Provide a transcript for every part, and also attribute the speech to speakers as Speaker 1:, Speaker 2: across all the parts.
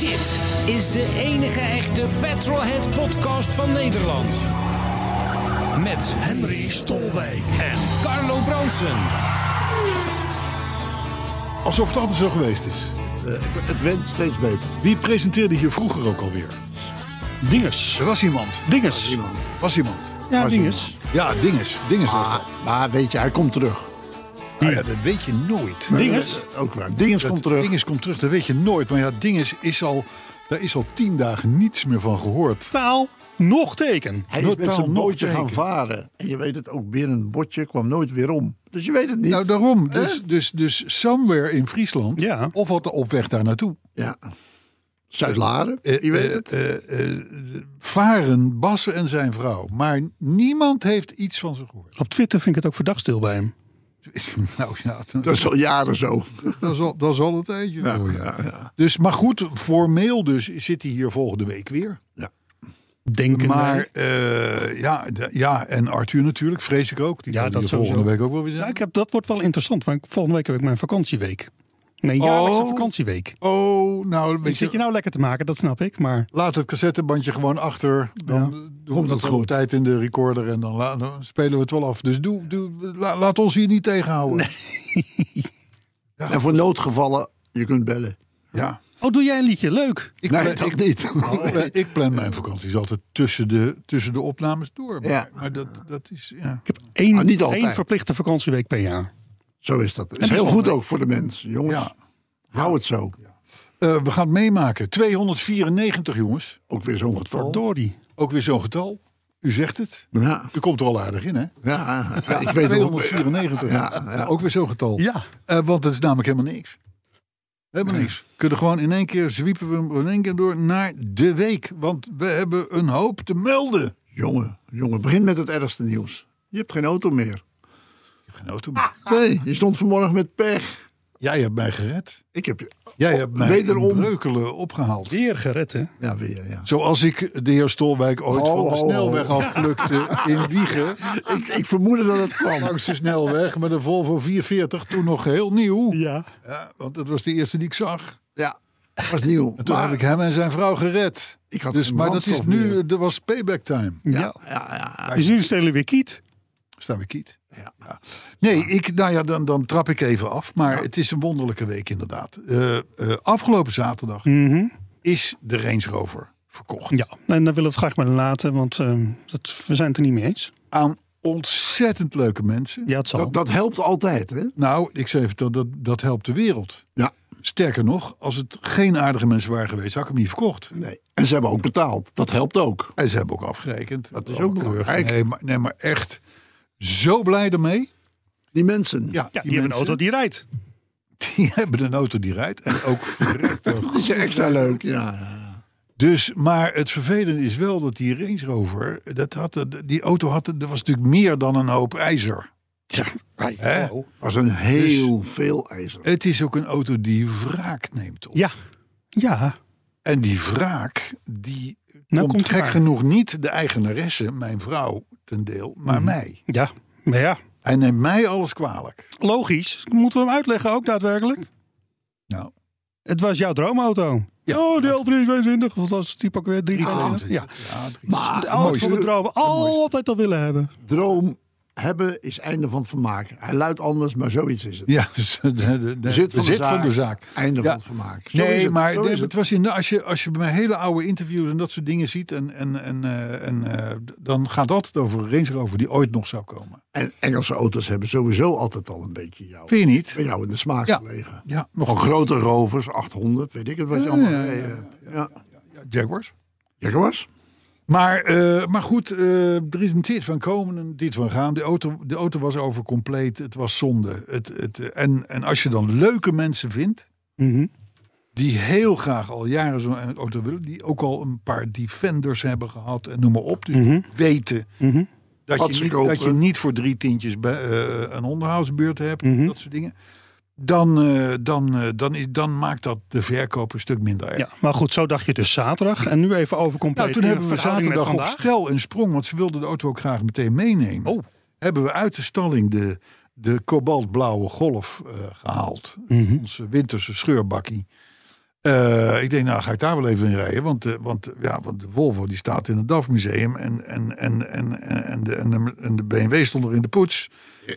Speaker 1: Dit is de enige echte Petrolhead podcast van Nederland. Met
Speaker 2: Henry Stolwijk.
Speaker 1: en Carlo Bronsen.
Speaker 2: Alsof het altijd zo geweest is.
Speaker 3: Het, het went steeds beter.
Speaker 2: Wie presenteerde hier vroeger ook alweer? Dinges. Er was iemand. Dinges. Was iemand. Was iemand.
Speaker 3: Ja,
Speaker 2: Was
Speaker 3: Dinges.
Speaker 2: iemand. Ja, Dinges. Dinges was dat.
Speaker 3: Maar, maar weet je, hij komt terug.
Speaker 2: Nou ja, dat weet je nooit.
Speaker 3: Dinges?
Speaker 2: Dat- Ook waar.
Speaker 3: Dinges
Speaker 2: Dat-
Speaker 3: komt terug.
Speaker 2: Dinges komt terug, dat weet je nooit. Maar ja, Dinges is al... Daar is al tien dagen niets meer van gehoord.
Speaker 4: taal nog teken.
Speaker 3: Hij is
Speaker 2: Notaal
Speaker 3: met zijn
Speaker 2: nog
Speaker 3: bootje
Speaker 2: teken.
Speaker 3: gaan varen. En je weet het ook, binnen een botje kwam nooit weer om. Dus je weet het niet.
Speaker 2: Nou, daarom.
Speaker 3: Hè?
Speaker 2: Dus, dus, dus somewhere in Friesland.
Speaker 4: Ja.
Speaker 2: Of wat op weg daar naartoe.
Speaker 3: Ja. Zuid-Laren,
Speaker 2: Eh,
Speaker 3: je weet
Speaker 2: eh,
Speaker 3: het.
Speaker 2: eh, eh, varen Bassen en zijn vrouw. Maar niemand heeft iets van ze gehoord.
Speaker 4: Op Twitter vind ik het ook verdacht stil bij hem.
Speaker 2: Nou ja,
Speaker 3: dat is al jaren zo.
Speaker 2: Dat is al, dat is al een tijdje zo, ja. Dus, maar goed, formeel dus zit hij hier volgende week weer.
Speaker 4: Denken
Speaker 2: Maar
Speaker 4: wij.
Speaker 2: eh, ja, d- ja, en Arthur natuurlijk, vrees ik ook. Die
Speaker 4: Ja,
Speaker 2: kan
Speaker 4: dat
Speaker 2: hier
Speaker 4: sowieso.
Speaker 2: volgende week ook wel weer
Speaker 4: Ja,
Speaker 2: zijn.
Speaker 4: ik heb, dat wordt wel interessant, want volgende week heb ik mijn vakantieweek. Mijn jaarlijkse vakantieweek.
Speaker 2: Oh, nou, weet
Speaker 4: Ik zit je nou lekker te maken, dat snap ik. Maar
Speaker 2: laat het cassettebandje gewoon achter. Dan doen we
Speaker 3: dat
Speaker 2: het
Speaker 3: goed.
Speaker 2: op tijd in de recorder en dan, la- dan spelen we het wel af. Dus doe, doe, la- laat ons hier niet tegenhouden.
Speaker 3: En voor noodgevallen, je kunt bellen.
Speaker 2: Ja.
Speaker 4: oh, doe jij een liedje? Leuk.
Speaker 2: Ik,
Speaker 3: nee,
Speaker 2: plan-
Speaker 3: dat
Speaker 2: ik-
Speaker 3: niet.
Speaker 2: ik plan- ik plan mijn vakanties altijd tussen de, tussen de opnames door. Maar,
Speaker 3: Ja.
Speaker 2: maar dat, dat is... Ja.
Speaker 4: Ik heb één,
Speaker 3: Ah, niet altijd.
Speaker 4: één verplichte vakantieweek per jaar.
Speaker 3: Zo is dat. is heel goed ook voor de mens. Jongens,
Speaker 2: Ja.
Speaker 3: hou het zo.
Speaker 2: Eh, we gaan het meemaken. 294, jongens.
Speaker 3: Ook weer zo'n geval.
Speaker 4: Verdorie.
Speaker 2: Ook weer zo'n getal. U zegt het.
Speaker 3: Ja.
Speaker 2: U komt er al aardig in, hè?
Speaker 3: Ja, ja, ik weet het ook.
Speaker 2: 294.
Speaker 3: Ja, ja.
Speaker 2: Ook weer zo'n getal.
Speaker 4: Ja.
Speaker 2: Eh, want het is namelijk helemaal niks. Helemaal niks. Kunnen gewoon in één keer zwiepen we hem in één keer door naar de week. Want we hebben een hoop te melden.
Speaker 3: Jongen, jongen, begin met het ergste nieuws. Je hebt geen auto meer.
Speaker 2: Geen auto meer.
Speaker 3: Nee, je stond vanmorgen met pech.
Speaker 2: Jij hebt mij gered.
Speaker 3: Ik heb je.
Speaker 2: Jij
Speaker 3: Oh,
Speaker 2: hebt mij
Speaker 3: wederom.
Speaker 2: in Breukelen opgehaald.
Speaker 4: Weer gered, hè?
Speaker 3: Ja, weer, ja.
Speaker 2: Zoals ik de heer Stolwijk ooit
Speaker 3: Oh,
Speaker 2: van de
Speaker 3: oh, oh.
Speaker 2: snelweg afplukte in Wiegen.
Speaker 3: Ik, ik vermoedde dat het kwam.
Speaker 2: Langs de snelweg met een Volvo 440, toen nog heel nieuw.
Speaker 4: Ja.
Speaker 2: Ja, want dat was de eerste die ik zag.
Speaker 3: Ja, dat was nieuw.
Speaker 2: En toen
Speaker 3: Maar
Speaker 2: heb ik hem en zijn vrouw gered.
Speaker 3: Ik had
Speaker 2: dus,
Speaker 3: geen
Speaker 2: maar dat is
Speaker 3: brandstof
Speaker 2: nu,
Speaker 3: meer.
Speaker 2: eh, er was payback time.
Speaker 4: Ja.
Speaker 3: Ja, ja,
Speaker 4: Dus jullie stelen weer kiet.
Speaker 2: Staan we kiet.
Speaker 3: ja. ja.
Speaker 2: Nee, ik, nou ja, dan, dan trap ik even af. Maar het is een wonderlijke week inderdaad. Eh, eh, afgelopen zaterdag is de Range Rover verkocht.
Speaker 4: Ja. En dan willen we het graag maar laten, want eh, dat, we zijn het er niet mee eens.
Speaker 2: Aan ontzettend leuke mensen.
Speaker 4: Ja, het zal.
Speaker 3: Dat, dat helpt altijd, hè?
Speaker 2: Nou, ik zei even, dat, dat, dat helpt de wereld.
Speaker 3: Ja.
Speaker 2: Sterker nog, als het geen aardige mensen waren geweest, had ik hem niet verkocht.
Speaker 3: Nee. En ze hebben ook betaald. Dat helpt ook.
Speaker 2: En ze hebben ook afgerekend. Dat
Speaker 3: is ook belangrijk.
Speaker 2: Nee maar, nee, maar echt zo blij ermee.
Speaker 3: Die mensen.
Speaker 2: Ja,
Speaker 4: ja, die, hebben een
Speaker 2: mensen,
Speaker 4: auto die rijdt.
Speaker 2: die hebben een auto die rijdt. En ook verrekte
Speaker 3: Dat is extra leuk. Ja, ja.
Speaker 2: Dus, maar het vervelende is wel dat die Range Rover, dat had, die auto had, dat was natuurlijk meer dan een hoop ijzer.
Speaker 3: Hey,
Speaker 2: Hè? Dus-
Speaker 3: was Oh. een heel veel ijzer.
Speaker 2: Het is ook een auto die wraak neemt op.
Speaker 4: Ja. Ja.
Speaker 2: En die wraak, die
Speaker 4: Nou
Speaker 2: komt
Speaker 4: komt
Speaker 2: gek
Speaker 4: waar.
Speaker 2: genoeg niet de eigenaresse, mijn vrouw, ten deel, maar
Speaker 4: Mhm.
Speaker 2: mij.
Speaker 4: Ja. Maar ja.
Speaker 2: Hij neemt mij alles kwalijk.
Speaker 4: Logisch. Moeten we hem uitleggen ook daadwerkelijk?
Speaker 2: Nou,
Speaker 4: Het was jouw droomauto. oh, de L322. Of was het type ook weer 322? Ja.
Speaker 2: ja, drie-
Speaker 4: De
Speaker 3: Maar
Speaker 4: auto van de
Speaker 3: mooiste.
Speaker 4: dromen. Altijd al willen hebben.
Speaker 3: droom hebben is einde van het vermaak. Hij luidt anders, maar zoiets is het.
Speaker 2: ja dus de, de, de-
Speaker 3: Zit van de
Speaker 2: bezit
Speaker 3: zaak.
Speaker 2: van de zaak.
Speaker 3: Einde
Speaker 2: Ja.
Speaker 3: van het vermaak. Zo
Speaker 2: Nee,
Speaker 3: is het.
Speaker 2: maar
Speaker 3: Zo
Speaker 2: de-
Speaker 3: is
Speaker 2: het
Speaker 3: het.
Speaker 2: was in, als, je, als je bij mijn hele oude interviews en dat soort dingen ziet, en, en, en, eh, en, eh, d- dan gaat het altijd over een Range Rover die ooit nog zou komen.
Speaker 3: En Engelse auto's hebben sowieso altijd al een beetje jou,
Speaker 2: Vind je niet?
Speaker 3: bij jou in de smaak
Speaker 2: Ja.
Speaker 3: gelegen.
Speaker 2: Ja,
Speaker 3: Nog
Speaker 2: nog
Speaker 3: grote rovers, 800, weet ik het wat je
Speaker 2: Ja,
Speaker 3: allemaal
Speaker 2: ja,
Speaker 3: gereden hebt. Ja.
Speaker 2: ja, Jaguars.
Speaker 3: Jaguars?
Speaker 2: Maar, eh, maar goed, eh, er is een dit van komen en dit van gaan. De auto, de auto was overcompleet. Het was zonde. Het, het, eh, en, en als je dan leuke mensen vindt.
Speaker 4: Mhm.
Speaker 2: Die heel graag al jaren zo'n eh, auto willen. Die ook al een paar defenders hebben gehad. En noem maar op. Dus weten
Speaker 4: Mhm.
Speaker 2: dat
Speaker 3: Wat ze
Speaker 2: je, niet,
Speaker 3: kopen.
Speaker 2: dat je niet voor drie tientjes bij, eh, een onderhoudsbeurt hebt.
Speaker 4: Mhm.
Speaker 2: Dat soort dingen. Dan, eh, dan, eh, dan, is, dan maakt dat de verkoop een stuk minder erg.
Speaker 4: Ja, maar goed, zo dacht je dus zaterdag. En nu even overcompleet.
Speaker 2: Nou, toen
Speaker 4: in
Speaker 2: hebben we
Speaker 4: verhouding met
Speaker 2: zaterdag op
Speaker 4: vandaag.
Speaker 2: stel en sprong, want ze wilden de auto ook graag meteen meenemen.
Speaker 4: Oh.
Speaker 2: Hebben we uit de stalling de, de kobaltblauwe golf eh, gehaald.
Speaker 4: Mhm.
Speaker 2: Onze winterse scheurbakkie. Eh, ik denk, nou ga ik daar wel even in rijden. Want, eh, want, eh, ja, want de Volvo die staat in het DAF-museum. En, en, en, en, en, en, de, en, de, en de BMW stond er in de poets.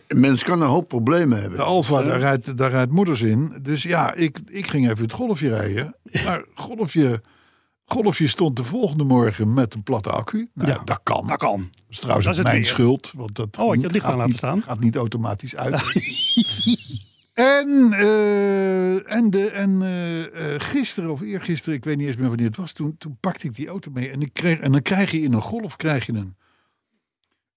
Speaker 3: Een mens kan een hoop problemen hebben.
Speaker 2: De Alfa, daar rijdt, daar rijdt moeders in. Dus ja, ik, ik ging even het golfje rijden. Maar golfje, golfje stond de volgende morgen met een platte accu. Nou,
Speaker 4: Ja.
Speaker 2: dat kan.
Speaker 4: Dat kan.
Speaker 2: Dat is trouwens
Speaker 4: Dat
Speaker 2: ook
Speaker 4: is het
Speaker 2: mijn
Speaker 4: weer.
Speaker 2: schuld. Want dat
Speaker 4: Oh, had je het licht
Speaker 2: gaat
Speaker 4: aan laten
Speaker 2: niet-
Speaker 4: staan?
Speaker 2: Gaat niet automatisch uit. en eh, en, de, en eh, eh, gisteren of eergisteren, ik weet niet eens meer wanneer het was, toen, toen pakte ik die auto mee. En, ik kreeg, en dan krijg je in een golf krijg je een,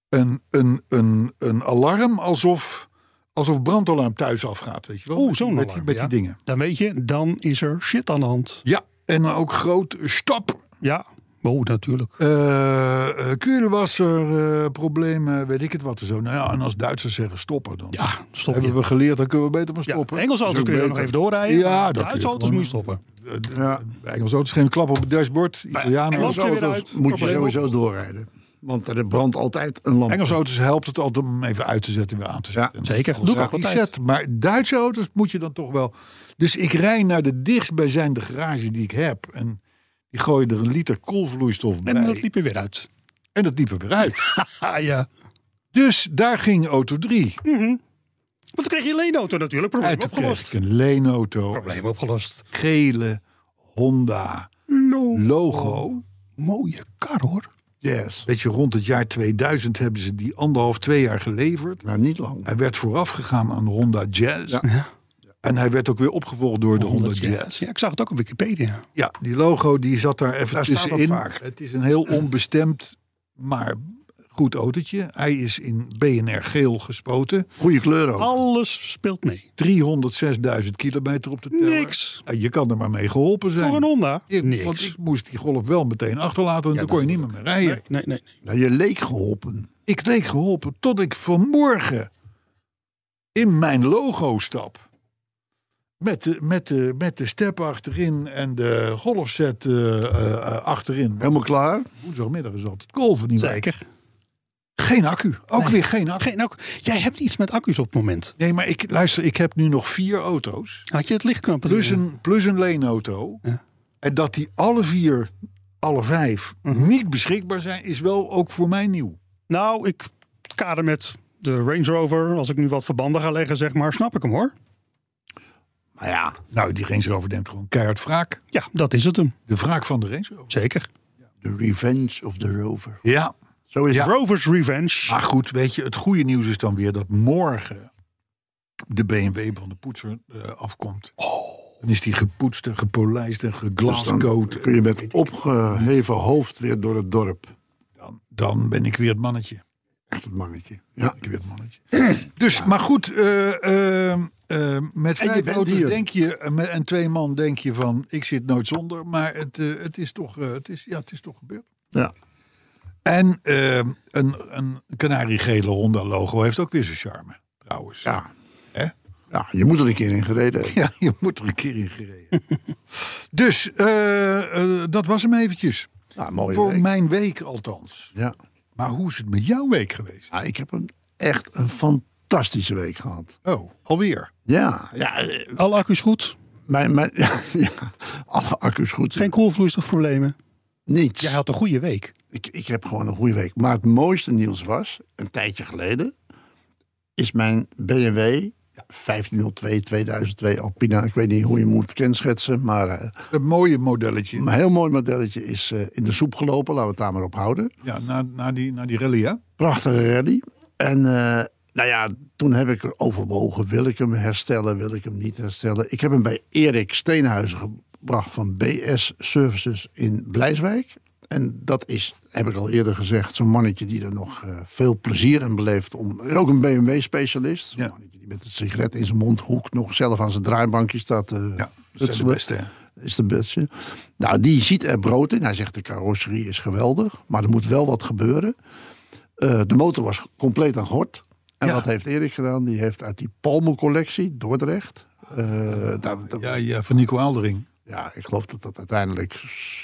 Speaker 2: een, een, een, een alarm alsof, alsof brandalarm thuis afgaat. Weet je wel?
Speaker 4: Oeh,
Speaker 2: Met die-
Speaker 4: zo'n
Speaker 2: met, die-
Speaker 4: alarm,
Speaker 2: met
Speaker 4: ja.
Speaker 2: die dingen.
Speaker 4: Dan weet je, dan is er shit aan de hand.
Speaker 2: Ja, en dan ook groot eh, stop.
Speaker 4: Ja, oh, natuurlijk.
Speaker 2: eh kurenwasser, eh, problemen, weet ik het wat. en Zo. Nou ja, en als Duitsers zeggen stoppen, dan
Speaker 4: Ja, stop je.
Speaker 2: hebben we geleerd, dan kunnen we beter maar
Speaker 4: Ja,
Speaker 2: stoppen.
Speaker 4: Engelse auto's kun je nog even doorrijden.
Speaker 2: Ja, dat
Speaker 4: maar
Speaker 2: kun je
Speaker 4: Duitse auto's
Speaker 2: gewoon.
Speaker 4: moet je stoppen.
Speaker 2: even... Engelse auto's geen klap op het dashboard. Italianen
Speaker 4: Engels-
Speaker 2: ook.
Speaker 4: Loop je
Speaker 3: Engelse
Speaker 4: weer
Speaker 3: auto's
Speaker 4: uit,
Speaker 3: moet je
Speaker 4: probleem
Speaker 3: sowieso doorrijden. Want er brandt altijd een lamp.
Speaker 2: Engelse auto's helpt het altijd om hem even uit te zetten en weer aan te zetten.
Speaker 3: Ja,
Speaker 2: En
Speaker 4: zeker.
Speaker 2: alles
Speaker 4: Doe ik ook
Speaker 2: reset.
Speaker 4: altijd.
Speaker 2: Maar Duitse auto's moet je dan toch wel... Dus ik rij naar de dichtstbijzijnde garage die ik heb. En die gooi er een liter koolvloeistof bij.
Speaker 4: En dat liep je weer uit.
Speaker 2: en dat liep er weer uit.
Speaker 4: Ah ja.
Speaker 2: dus daar ging auto 3.
Speaker 4: Want dan kreeg je een leenauto natuurlijk. Probleem
Speaker 2: Uit de
Speaker 4: opgelost.
Speaker 2: kerk, een leenauto.
Speaker 4: Probleem opgelost.
Speaker 2: gele Honda
Speaker 4: Oh.
Speaker 2: logo.
Speaker 4: Mooie kar hoor.
Speaker 3: Yes.
Speaker 2: Weet je, rond het jaar 2000 hebben ze die anderhalf, twee jaar geleverd.
Speaker 3: Maar Nou, niet lang.
Speaker 2: Hij werd vooraf gegaan aan de Honda Jazz. En hij werd ook weer opgevolgd door de Honda, Jazz.
Speaker 4: Ja, ik zag het ook op Wikipedia.
Speaker 2: Ja, die logo die zat daar even
Speaker 3: Daar staat dat
Speaker 2: tussenin.
Speaker 3: vaak.
Speaker 2: Het is een heel onbestemd, maar goed autootje. Hij is in BNR geel gespoten.
Speaker 3: Goede kleur ook.
Speaker 4: Alles speelt mee.
Speaker 2: 306.000 kilometer op de teller.
Speaker 4: Niks.
Speaker 2: En Je kan er maar mee geholpen zijn.
Speaker 4: Voor een Honda.
Speaker 2: Ik- Want
Speaker 4: Niks.
Speaker 2: ik moest die golf wel meteen achterlaten. En dan kon je niet meer mee rijden.
Speaker 4: Nee, nee, nee.
Speaker 3: Nou, je leek geholpen.
Speaker 2: Ik leek geholpen tot ik vanmorgen in mijn logo stap. Met de, met de, met de step achterin en de golfset eh, eh, eh, achterin. Want
Speaker 3: Helemaal klaar.
Speaker 2: Woensdagmiddag is altijd golven niet meer.
Speaker 4: Zeker.
Speaker 2: Geen accu. Ook weer geen accu.
Speaker 4: Geen, nou, jij hebt iets met accu's op het moment.
Speaker 2: Nee, maar ik, luister, ik heb nu nog vier auto's.
Speaker 4: Had je het lichtknopje?
Speaker 2: Plus een, plus een leenauto.
Speaker 4: Ja.
Speaker 2: En dat die alle vier, alle vijf,
Speaker 4: Mhm.
Speaker 2: niet beschikbaar zijn, is wel ook voor mij nieuw.
Speaker 4: Nou, ik kader met de Range Rover. Als ik nu wat verbanden ga leggen, zeg maar, snap ik hem hoor.
Speaker 3: Maar ja,
Speaker 2: Nou, die Range Rover neemt gewoon keihard wraak.
Speaker 4: Ja, dat is het hem.
Speaker 2: De wraak van de Range Rover.
Speaker 4: Zeker.
Speaker 3: the revenge of the rover.
Speaker 2: Ja,
Speaker 3: Zo is het.
Speaker 4: Rover's Revenge.
Speaker 2: Maar goed, weet je, het goede nieuws is dan weer dat morgen de BMW van de poetser eh, afkomt. Dan is die gepoetst en gepolijst en
Speaker 3: Oh. Dus dan
Speaker 2: geglascoat.
Speaker 3: kun je met opgeheven hoofd weer door het dorp.
Speaker 2: Dan, dan ben ik weer het mannetje.
Speaker 3: Echt het mannetje. Ja.
Speaker 2: Ik weer het mannetje. Dus, maar goed, eh, eh, eh, met
Speaker 3: En je
Speaker 2: vijf
Speaker 3: bent
Speaker 2: auto's
Speaker 3: hier.
Speaker 2: denk je, en met- en twee man denk je van, ik zit nooit zonder. Maar het, eh, het, is, toch, eh, het, is, ja, het is toch gebeurd.
Speaker 3: ja.
Speaker 2: En eh, een, een kanariegele Honda logo heeft ook weer zijn charme, trouwens.
Speaker 3: Ja.
Speaker 2: Hè?
Speaker 3: ja, je moet er een keer in gereden hebben.
Speaker 2: Ja, je moet er een keer in gereden. dus eh, eh, dat was hem eventjes.
Speaker 3: Ja, mooie
Speaker 2: Voor
Speaker 3: week.
Speaker 2: mijn week althans.
Speaker 3: Ja.
Speaker 2: Maar hoe is het met jouw week geweest?
Speaker 3: Ja, ik heb een, echt een fantastische week gehad.
Speaker 2: Oh, alweer.
Speaker 3: Ja, ja, eh,
Speaker 4: Alle accu's goed.
Speaker 3: mijn, mijn, ja, ja, alle accu's goed.
Speaker 4: Geen koelvloeistofproblemen.
Speaker 3: Niets.
Speaker 4: Jij had een goede week.
Speaker 3: Ik, ik heb gewoon een goede week. Maar het mooiste nieuws was, een tijdje geleden, is mijn BMW 1502 2002 Alpina. Ik weet niet hoe je hem moet kenschetsen, maar eh,
Speaker 2: Een mooie modelletje.
Speaker 3: een heel mooi modelletje is eh, in de soep gelopen. Laten we het daar maar op houden.
Speaker 2: Ja, na, na, die, na die rally, hè?
Speaker 3: Prachtige rally. En eh, nou ja, toen heb ik overwogen, wil ik hem herstellen, wil ik hem niet herstellen. Ik heb hem bij Erik Steenhuizen gebracht van BS Services in Blijswijk. En dat is, heb ik al eerder gezegd, zo'n mannetje die er nog eh, veel plezier in beleeft. Om, ook een BMW-specialist. Zo'n
Speaker 2: Ja.
Speaker 3: mannetje die met een sigaret in zijn mondhoek nog zelf aan zijn draaibankje staat. eh, te
Speaker 2: Ja, dat zijn de
Speaker 3: hutselen.
Speaker 2: beste. hè.
Speaker 3: is de beste. Nou, die ziet er brood in. Hij zegt de carrosserie is geweldig, maar er moet wel wat gebeuren. Eh, de motor was compleet aan gort. En
Speaker 2: Ja.
Speaker 3: wat heeft Erik gedaan? Die heeft uit die Palmo-collectie, Dordrecht... eh, daar- daar-
Speaker 2: Ja, ja, van Nico Aldering.
Speaker 3: ja, ik geloof dat dat uiteindelijk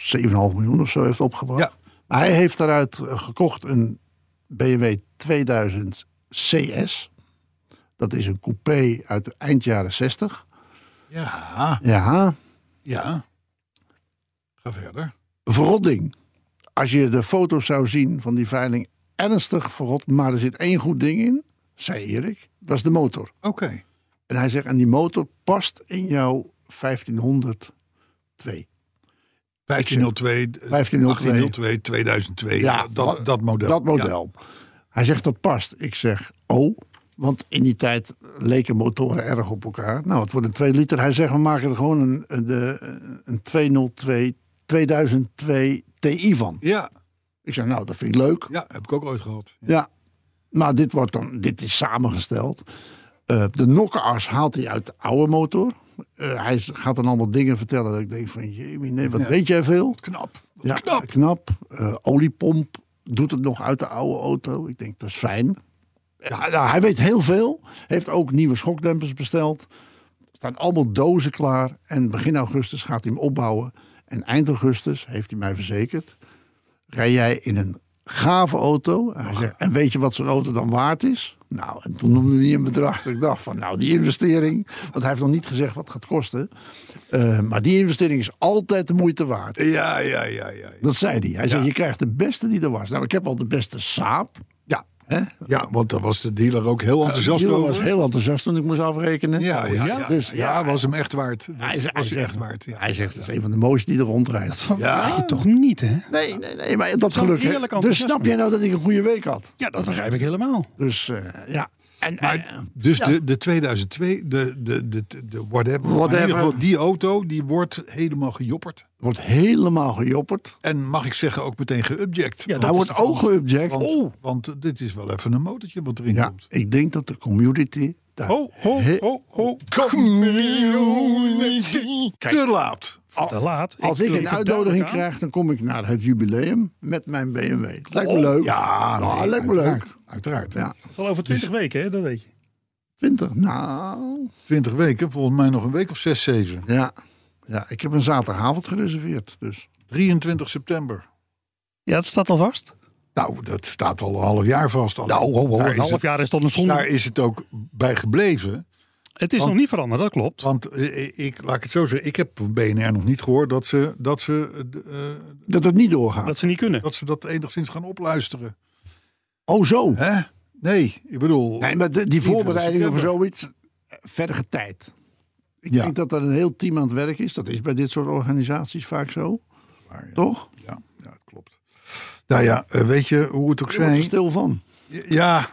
Speaker 3: 7,5 miljoen of zo heeft opgebracht.
Speaker 2: Ja.
Speaker 3: Maar hij heeft daaruit eh, gekocht een BMW 2000 CS. Dat is een coupé uit de eind jaren 60.
Speaker 2: Ja,
Speaker 3: Ja,
Speaker 2: ja. Ga verder.
Speaker 3: verrotting. Als je de foto's zou zien van die veiling, ernstig verrot. Maar er zit één goed ding in, zei Erik. Dat is de motor.
Speaker 2: Oké.
Speaker 3: En hij zegt, en die motor past in jouw 1502.
Speaker 2: 1502, eh,
Speaker 3: 1502.
Speaker 2: 1802, 2002.
Speaker 3: Ja,
Speaker 2: dat, dat model.
Speaker 3: Dat model. Hij zegt dat past. Ik zeg, oh. Want in die tijd leken motoren erg op elkaar. Nou, het wordt een 2 liter. Hij zegt, we maken er gewoon een, een, de- eh, een 202, 2002 Ti van.
Speaker 2: Ja. Ja,
Speaker 3: Ik zeg, nou, dat vind ik leuk.
Speaker 2: ja, heb ik ook ooit gehad.
Speaker 3: Ja, maar dit, wordt dan, dit is samengesteld. Eh, de nokkenas haalt hij uit de oude motor. Eh, hij s- gaat dan allemaal dingen vertellen dat ik denk van... Jemie, nee, wat weet jij veel?
Speaker 2: Knap.
Speaker 3: Ja,
Speaker 2: knap.
Speaker 3: knap. Eh, oliepomp doet het nog uit de oude auto. Ik denk, dat is fijn. Ja, nou, hij weet heel veel. Heeft ook nieuwe schokdempers besteld. Er staan allemaal dozen klaar. En begin augustus gaat hij hem opbouwen. En eind augustus, heeft hij mij verzekerd... rij jij in een gave auto. En, hij zegt, en weet je wat zo'n auto dan waard is? Nou, en toen noemde hij een bedrag. dat Ik dacht van, nou, die investering... want hij heeft nog niet gezegd wat het gaat kosten. Eh, maar die investering is altijd de moeite waard.
Speaker 2: Ja, ja, ja, ja. ja.
Speaker 3: Dat zei hij. Hij zei, je krijgt de beste die er was. Nou, ik heb al de beste saap.
Speaker 2: Ja,
Speaker 3: Hè?
Speaker 2: ja want daar was de dealer ook heel enthousiast
Speaker 3: Dylan
Speaker 2: over.
Speaker 3: was heel enthousiast toen ik moest afrekenen.
Speaker 2: Ja, ja, ja. ja.
Speaker 3: Dus ja,
Speaker 2: was hem echt waard.
Speaker 3: hij,
Speaker 2: was
Speaker 3: zegt- hij
Speaker 2: hem
Speaker 3: zegt,
Speaker 2: echt waard. Ja.
Speaker 3: hij zegt, dat is een van de mooiste die er rondrijdt.
Speaker 4: Ja. je toch niet, hè?
Speaker 3: Nee, nee, nee, maar dat
Speaker 4: Zo'n
Speaker 3: geluk. hè.
Speaker 4: heerlijk
Speaker 3: Dus
Speaker 4: enthousiasme.
Speaker 3: snap jij nou dat ik een goede week had?
Speaker 4: Ja, dat begrijp ik helemaal.
Speaker 3: Dus eh, ja. En, eh, en-
Speaker 2: Dus
Speaker 3: ja.
Speaker 2: de, de 2002, de, de, de, de, de whatever. Maar In
Speaker 3: Whatever.
Speaker 2: ieder geval, die auto, die wordt helemaal gejopperd.
Speaker 3: wordt helemaal gejopperd.
Speaker 2: En mag ik zeggen, ook meteen geobject. Ja,
Speaker 3: Hij wordt ook geobject.
Speaker 2: Want,
Speaker 3: Oh.
Speaker 2: want dit is wel even een motortje wat erin
Speaker 3: Ja,
Speaker 2: komt. Oh,
Speaker 3: ik denk dat de community daar
Speaker 4: Ho, ho,
Speaker 3: he-
Speaker 4: ho, ho.
Speaker 2: Te laat.
Speaker 4: Te laat.
Speaker 3: Als ik
Speaker 4: doe
Speaker 3: een
Speaker 4: even
Speaker 3: uitnodiging
Speaker 4: duidelijk aan.
Speaker 3: krijg, dan kom ik naar het jubileum met mijn BMW. Lijkt me leuk. Ja,
Speaker 2: Oh, nee,
Speaker 3: lijkt me leuk.
Speaker 2: uiteraard, Uiteraard.
Speaker 3: Ja.
Speaker 4: Het is Al over 20 weken, hè? Dat weet je.
Speaker 3: 20, nou.
Speaker 2: 20 weken, volgens mij nog een week of 6, 7.
Speaker 3: Ja. ja, ik heb een zaterdagavond gereserveerd. Dus.
Speaker 2: 23 september.
Speaker 4: Ja, dat staat al vast.
Speaker 2: Nou, dat staat al een half jaar vast. Al. daar,
Speaker 4: een
Speaker 2: Nou, is het,
Speaker 4: half
Speaker 2: Nou,
Speaker 4: jaar is dat een zondag.
Speaker 2: daar is het ook bij gebleven.
Speaker 4: Het is nog niet veranderd, dat klopt.
Speaker 2: Want eh, ik, laat ik het zo zeggen, ik heb van BNR nog niet gehoord dat ze dat, ze, eh, d- eh,
Speaker 3: Dat het niet doorgaat.
Speaker 4: Dat ze niet kunnen.
Speaker 2: dat, ze dat enigszins gaan opluisteren.
Speaker 3: Oh, zo.
Speaker 2: Hè? Nee, ik bedoel,
Speaker 3: Nee, maar de- die voorbereidingen voor
Speaker 2: september.
Speaker 3: zoiets, eh, verdere tijd. Ik
Speaker 2: Ja.
Speaker 3: denk dat er een heel team aan het werk is. Dat is bij dit soort organisaties vaak zo.
Speaker 2: Maar ja.
Speaker 3: Toch?
Speaker 2: Ja, ja, het klopt. Nou ja, eh, weet je hoe het ook
Speaker 3: Ik word er
Speaker 2: zijn?
Speaker 3: stil van.
Speaker 2: Ja.